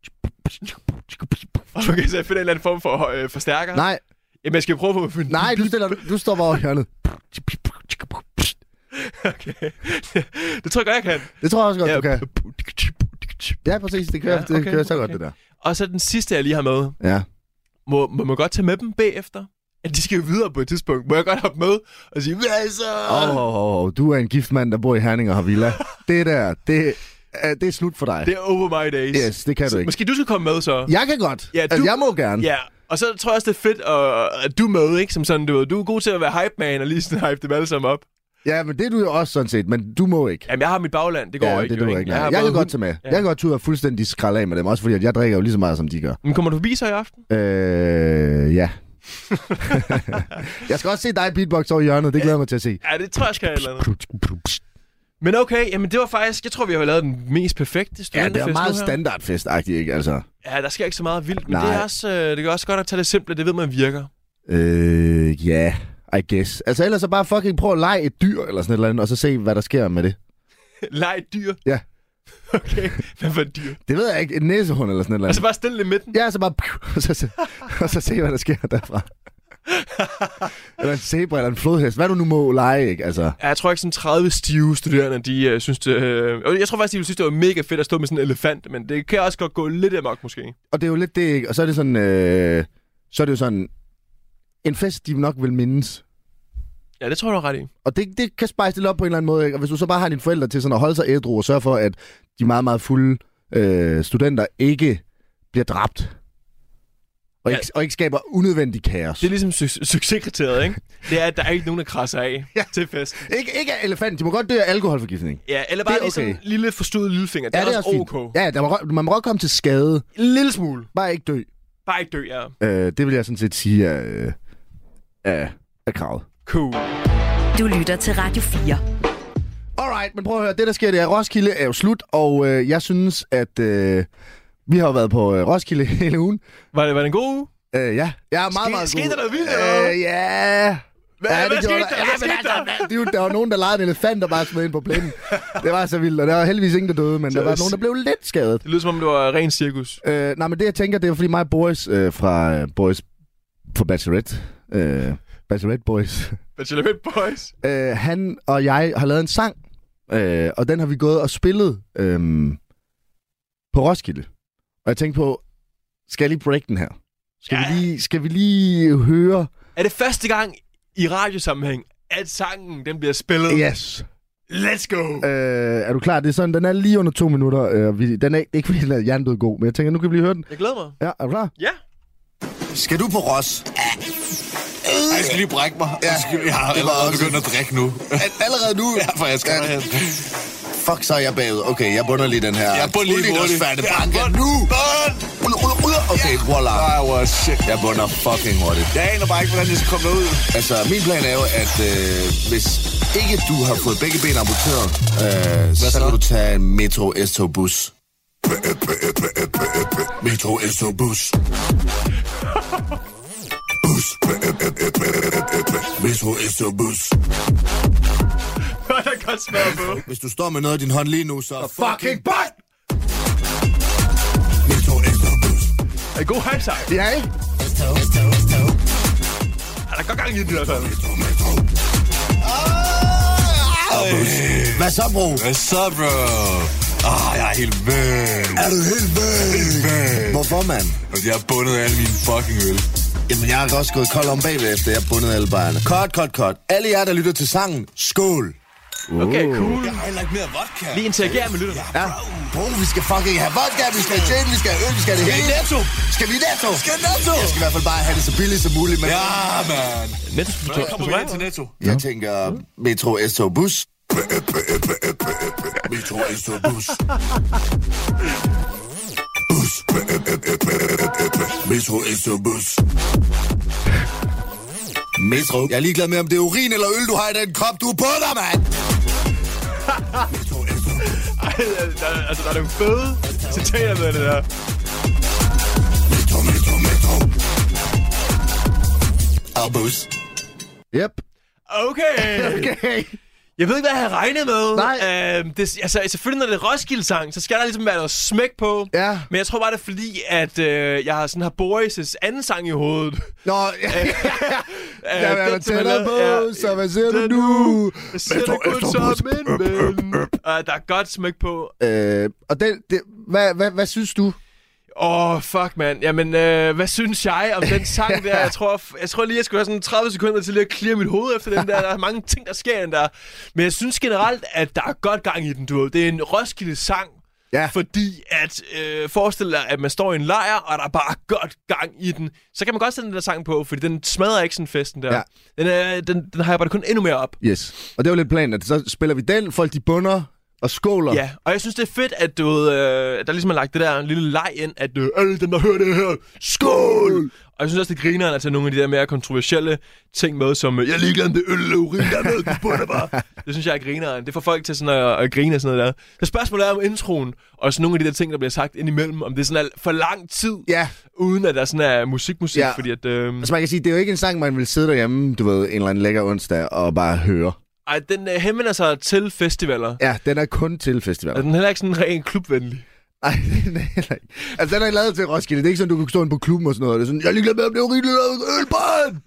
S4: noget? Okay, så jeg finder en eller anden form for øh, forstærker.
S3: Nej,
S4: Jamen, jeg skal prøve at finde...
S3: nej, du, stiller, du står bare over hjørnet.
S4: Okay. det tror jeg godt, jeg kan.
S3: Det tror jeg også godt,
S4: Ja.
S3: du kan. Ja, præcis. Det kører,
S4: Ja,
S3: det
S4: okay,
S3: kører så godt,
S4: okay.
S3: det der.
S4: Og så den sidste, jeg lige har med.
S3: Ja.
S4: Må, må man godt tage med dem bagefter? At de skal jo videre på et tidspunkt. Må jeg godt hoppe med og sige, hvad så?
S3: Åh, oh, oh, oh, du er en gift mand, der bor i Herning og har villa. det der, det, er, det er slut for dig.
S4: Det er over my days.
S3: yes, det kan du
S4: så,
S3: ikke.
S4: måske du skal komme med så.
S3: Jeg kan godt.
S4: Ja,
S3: Ja,
S4: du-
S3: Altså, jeg må gerne.
S4: Ja, og så tror jeg også, det er fedt, at, at du er med, ikke? Som sådan, du, ved, du er god til at være hype man og lige sådan hype dem alle sammen op.
S3: ja, men det er du jo også sådan set, men du må ikke.
S4: Jamen, jeg har mit bagland, det går
S3: Ja,
S4: ikke.
S3: det
S4: jo,
S3: du ikke.
S4: har
S3: Jeg, jeg
S4: både
S3: kan godt
S4: hund-
S3: tage med.
S4: Ja.
S3: Jeg kan godt tage ud og fuldstændig skralde af med dem, også fordi at jeg drikker jo lige så meget, som de gør.
S4: Men kommer du forbi så i aften?
S3: Øh, ja. jeg skal også se dig beatbox over i hjørnet, det glæder jeg mig til at se.
S4: Ja, det tror jeg, jeg skal et eller andet. Men okay, jamen det var faktisk, jeg tror, vi har lavet den mest perfekte
S3: Ja,
S4: studenterfest
S3: det er meget
S4: nu her.
S3: standardfestagtigt, ikke? Altså,
S4: Ja, der sker ikke så meget vildt, men
S3: Nej.
S4: det er også, øh, det er også godt at tage det simple, det ved man virker.
S3: øh, ja, yeah, I guess. Altså, ellers så bare fucking prøv at lege et dyr eller sådan et eller andet, og så se, hvad der sker med det.
S4: Leg et dyr.
S3: Ja.
S4: Okay, hvad for et dyr?
S3: Det ved jeg ikke. En næsehund eller sådan et eller andet.
S4: Altså bare stille det i midten.
S3: Ja, så bare... Og så, se, og så se, hvad der sker derfra. eller en zebra eller en flodhest. Hvad du nu må lege, ikke? Altså,
S4: Ja, jeg tror ikke sådan 30 stive studerende, de øh, synes det... Øh, og jeg tror faktisk, de ville synes, det var mega fedt at stå med sådan en elefant, men det kan også godt gå lidt amok måske.
S3: og det er jo lidt det, ikke? Og så er det sådan... Øh, så er det jo sådan... En fest, de nok vil mindes.
S4: Ja, det tror jeg, du har ret i.
S3: Og det, det kan spice det lidt op på en eller anden måde, ikke? Og hvis du så bare har dine forældre til sådan at holde sig ædru og sørge for, at de meget, meget fulde øh, studenter ikke bliver dræbt. Og,
S4: Ja.
S3: ikke, og ikke skaber unødvendig kaos.
S4: Det er ligesom su- succeskriteriet, ikke? Det er, at der er ikke nogen, der krasser af ja. til festen.
S3: Ikke, ikke af elefant. De må godt dø af alkoholforgiftning.
S4: Ja, eller bare
S3: Det er
S4: lige sådan en
S3: okay.
S4: lille forstået lillefinger. Det, ja, det er også,
S3: fint.
S4: også ok.
S3: Ja, der må, godt- man må godt komme til skade.
S4: En lille smule.
S3: Bare ikke dø.
S4: Bare ikke dø, ja.
S3: Øh, det vil jeg sådan set sige er, øh, er, er kravet.
S4: Cool.
S2: Du lytter til Radio 4.
S3: Alright, men prøv at høre, det der sker, det er, at Roskilde er jo slut, og øh, jeg synes, at øh, vi har jo været på øh, Roskilde hele ugen.
S4: Var det, var det en god uge?
S3: Øh, ja, jeg er meget,
S4: Ske-
S3: meget
S4: skete
S3: god.
S4: der noget vildt, eller hvad?
S3: Øh, ja.
S4: Hvad-
S3: ja,
S4: hvad skete
S3: gjorde
S4: der?
S3: Ja,
S4: Hvad
S3: men
S4: skete der?
S3: altså, hvad- dude, der var nogen, der legede en elefant og bare smed ind på plænen. Det var så vildt, og der var heldigvis ingen, der døde, men der var nogen, der blev lidt skadet.
S4: Det lyder, som om det var ren cirkus.
S3: Øh, nej, men det jeg tænker, det er fordi mig og Boris øh, fra øh, Boris fra Bachelorette, øh, Bachelorette Boys.
S4: Bachelorette Boys.
S3: Øh, han og jeg har lavet en sang, øh, og den har vi gået og spillet øh, på Roskilde. Og jeg tænkte på, skal jeg lige break den her? Skal, ja.
S4: Ja.
S3: vi lige, skal vi lige høre?
S4: Er det første gang i radiosammenhæng, at sangen den bliver spillet?
S3: Yes.
S4: Let's go!
S3: Øh, er du klar? Det er sådan, den er lige under to minutter. Øh, vi, den er ikke, ikke fordi den er hjernedød god, men jeg tænker, nu kan vi lige høre den.
S4: Jeg glæder mig.
S3: Ja, er du klar?
S4: Ja.
S9: Skal du på Ros?
S10: Ej, jeg skal lige brække mig. Ja, jeg, skal, jeg har
S9: det var
S10: allerede
S9: også-
S10: begyndt at drikke nu.
S9: Al- Allerede nu?
S10: Ja, for jeg skal derhen.
S9: Fuck, så er jeg bagud. Okay, jeg bunder lige den her.
S10: Jeg bunder lige hurtigt.
S9: Færdig
S10: Ja,
S9: banke.
S10: bund-
S9: Nu! Rulle, rulle, rulle. Okay, voila.
S10: Ej, hvor shit.
S9: Jeg bunder fucking hurtigt.
S10: Jeg aner bare ikke, hvordan jeg skal komme derud.
S9: Altså, min plan er jo, at øh, hvis ikke du har fået begge ben amputeret, øh, så, så kan du tage en Metro S-tog-bus. Metro S-tog-bus. Bus. Metro S-tog-bus.
S4: Godt er godt smager på.
S9: Hvis du står med noget i din hånd lige nu, så...
S3: Fucking bang!
S9: Metro S-tog-bus.
S4: En god high sang.
S3: Ja, ikke?
S4: Er der godt gang i den i hvert fald?
S9: Hvad så, bro?
S10: Hvad så, bro? Ah, jeg er helt væk.
S9: Er du helt væk?
S10: væk?
S9: Hvorfor, mand?
S10: Jeg har bundet alle mine fucking øl.
S9: Jamen, jeg har også gået kold om bagved, efter jeg bundede alle bajerne. Kort, kort, kort. Alle jer, der lytter til sangen, skål!
S4: Okay, cool.
S10: Jeg har heller ikke mere vodka.
S4: Vi interagerer med lytterne.
S9: Ja. Bro, vi skal fucking have vodka, vi skal have gin, vi skal have øl, vi skal have det
S10: Skal i
S9: hele.
S10: Netto?
S9: Skal vi i netto?
S10: Skal i Netto?
S9: Jeg skal i hvert fald bare have det så billigt som muligt, men
S10: Ja, man.
S4: Netto
S10: Så kommer vi ind til Netto.
S9: jeg tænker Metro S-tog bus. Metro S-tog bus. Bus. Metro S-tog bus. Metro. Jeg er ligeglad med, om det er urin eller øl, du har i den krop, du er på dig, mand. Metro S-tog bus.
S4: Altså, der er nogle fede citater med det der.
S9: Metro, metro, metro. Og bus.
S3: Yep.
S4: Okay.
S3: Okay.
S4: Jeg ved ikke, hvad jeg havde regnet med.
S3: Nej.
S4: Øhm, det, altså, selvfølgelig, når det er Roskilde-sang, så skal der ligesom være noget smæk på.
S3: Ja.
S4: Men jeg tror bare, det er fordi, at øh, jeg har sådan har Boris' anden sang i hovedet.
S3: Nå, ja.
S4: Øh,
S3: Ja, man
S4: den, som han
S3: tæller
S4: lavede-
S3: på, så hvad ser du
S4: Den
S3: nu?
S4: Jeg ser det kun som en ven. Øh, der er godt smæk på.
S3: Øh, og den, det, hvad, hvad, hvad synes du?
S4: Åh, oh, fuck, mand. Jamen, øh, hvad synes jeg om den sang der? Jeg tror, jeg tror lige, jeg skulle have sådan 30 sekunder til lige at klire mit hoved efter den der. Der er mange ting, der sker i den der. Men jeg synes generelt, at der er godt gang i den, du ved. Det er en Roskilde-sang.
S3: Ja.
S4: Fordi at, øh, forestil dig, at man står i en lejr, og der er bare godt gang i den. Så kan man godt sætte den der sang på, fordi den smadrer ikke sådan festen der.
S3: Ja.
S4: Den, øh, den, den hyper det kun endnu mere op.
S3: Yes. Og det var lidt planen, at så spiller vi den, folk de bunder og skåler.
S4: Ja, og jeg synes, det er fedt, at du, ved, øh, at der ligesom er lagt det der lille leg ind, at øh, alle dem, der hører det her, skål! Og jeg synes også, det griner at tage nogle af de der mere kontroversielle ting med, som, øh, jeg er ligeglad med øl eller urin, der er med, du bunder bare. Det synes jeg er grineren. Det får folk til sådan at, at grine og sådan noget der. Så spørgsmålet er om introen, og sådan nogle af de der ting, der bliver sagt indimellem, om det sådan er for lang tid,
S3: Ja.
S4: uden at der sådan er musikmusik,
S3: Ja.
S4: ja. fordi at... Øh,
S3: Altså man kan sige, det er jo ikke en sang, man vil sidde derhjemme, du ved, en eller anden lækker onsdag og bare høre.
S4: ej, den øh, henvender sig til festivaler.
S3: Ja, den er kun til
S4: Er
S3: festivaler.
S4: den heller ikke sådan rent klubvenlig?
S3: Nej, den er heller ikke. Altså den er lavet til Roskilde. Det er ikke sådan, du kan stå inde på klubben og sådan noget. Det er sådan, jeg er ligeglad med, om det er urin eller øl, barn!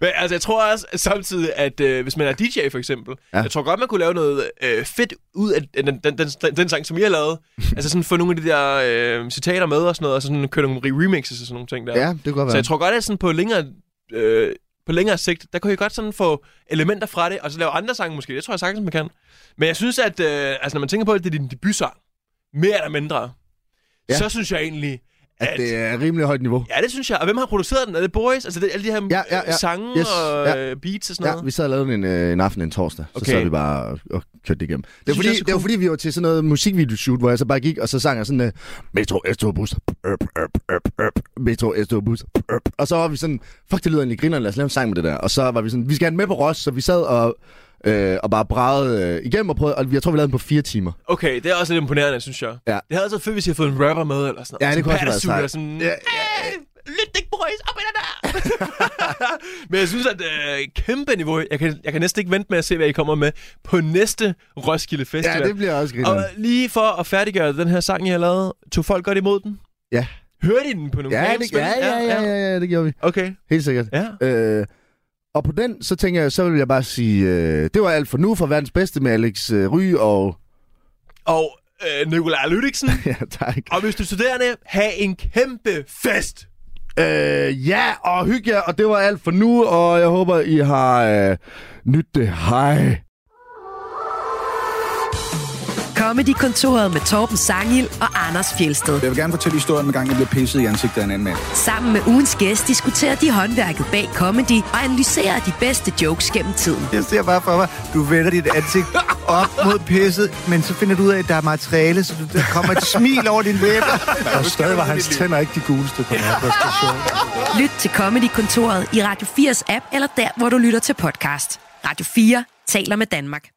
S4: Men altså, jeg tror også at samtidig, at øh, hvis man er DJ for eksempel,
S3: Ja.
S4: ja. jeg tror godt, man kunne lave noget øh, fedt ud af den, den, den, den, den sang, som I har lavet. altså sådan få nogle af de der øh, citater med og sådan noget, og så sådan køre nogle re- remixes og sådan nogle ting der.
S3: Ja, det kunne godt være.
S4: Så jeg tror godt, at sådan på længere, øh, på længere sigt, der kunne I godt sådan få elementer fra det, og så lave andre sange måske. Det tror jeg sagtens, man kan. Men jeg synes, at øh, altså, når man tænker på, at det er din debutsang, mere eller mindre,
S3: Ja.
S4: ja. så synes jeg egentlig, at...
S3: at det er rimelig højt niveau.
S4: Ja, det synes jeg. Og hvem har produceret den? Er det Boris? Altså det, alle de her
S3: Ja,
S4: ja,
S3: ja,
S4: ja,
S3: ja.
S4: sange
S3: Yes,
S4: yes, og
S3: ja.
S4: ja. beats og sådan
S3: Ja,
S4: noget?
S3: vi sad og lavede en, øh, en aften en torsdag, så
S4: Okay.
S3: sad vi bare og, og kørte det igennem. Det var,
S4: synes
S3: fordi,
S4: jeg er så
S3: det var
S4: cool.
S3: fordi, vi var til sådan noget musikvideoshoot, hvor jeg så bare gik, og så sang jeg sådan, øh, Metro Esto Bus, øp, øp, øp, øp, Metro Esto Bus, øp. og så var vi sådan, fuck, det lyder egentlig grineren, lad os lave en sang med det der. Og så var vi sådan, vi skal have den med på Ross, så vi sad og, øh, og bare bragede øh, igennem og prøvede, og jeg tror, vi lavede den på fire timer.
S4: Okay, det er også lidt imponerende, synes jeg.
S3: Ja.
S4: Det havde altid fedt, hvis jeg havde fået en rapper med eller sådan noget.
S3: Ja, det
S4: Sådan
S3: kunne også have været
S4: Patterson
S3: sejt.
S4: og sådan,
S3: Ja,
S4: ja, ja, Lyt ikke, Boris, op med den der! Men jeg synes, at øh, kæmpe niveau. Jeg kan, jeg kan næsten ikke vente med at se, hvad I kommer med på næste Roskilde Festival.
S3: Ja, det bliver også grineren.
S4: Og lige for at færdiggøre den her sang, jeg har lavet, tog folk godt imod den?
S3: Ja.
S4: Hørte I den på nogle
S3: Ja, det,
S4: kabelspil?
S3: ja, ja, ja, ja, ja, det gjorde vi.
S4: Okay.
S3: Helt sikkert.
S4: Ja.
S3: Øh, og på den, så tænker jeg, så vil jeg bare sige, øh, det var alt for nu for verdens bedste med Alex øh, Ry og...
S4: Og øh, Nikolaj Lydiksen.
S3: ja, tak.
S4: og hvis du er studerende, have en kæmpe fest.
S3: Øh, ja, og hygge jer, og det var alt for nu, og jeg håber, I har øh, nyt det. Hej.
S2: Comedy-kontoret med Torben Sangil og Anders Fjelsted.
S11: Jeg vil gerne fortælle historien, om gang jeg blev pisset i ansigtet af en anden mand.
S2: Sammen med ugens gæst diskuterer de håndværket bag comedy og analyserer de bedste jokes gennem tiden.
S12: Jeg ser bare for mig, du vender dit ansigt op mod pisset, men så finder du ud af, at der er materiale, så du, der kommer et smil over din læber.
S13: Og stadig var hans tænder ikke de guleste på den her præstation.
S2: Lyt til Comedy-kontoret i Radio 4's app, eller der, hvor du lytter til podcast. Radio 4 taler med Danmark.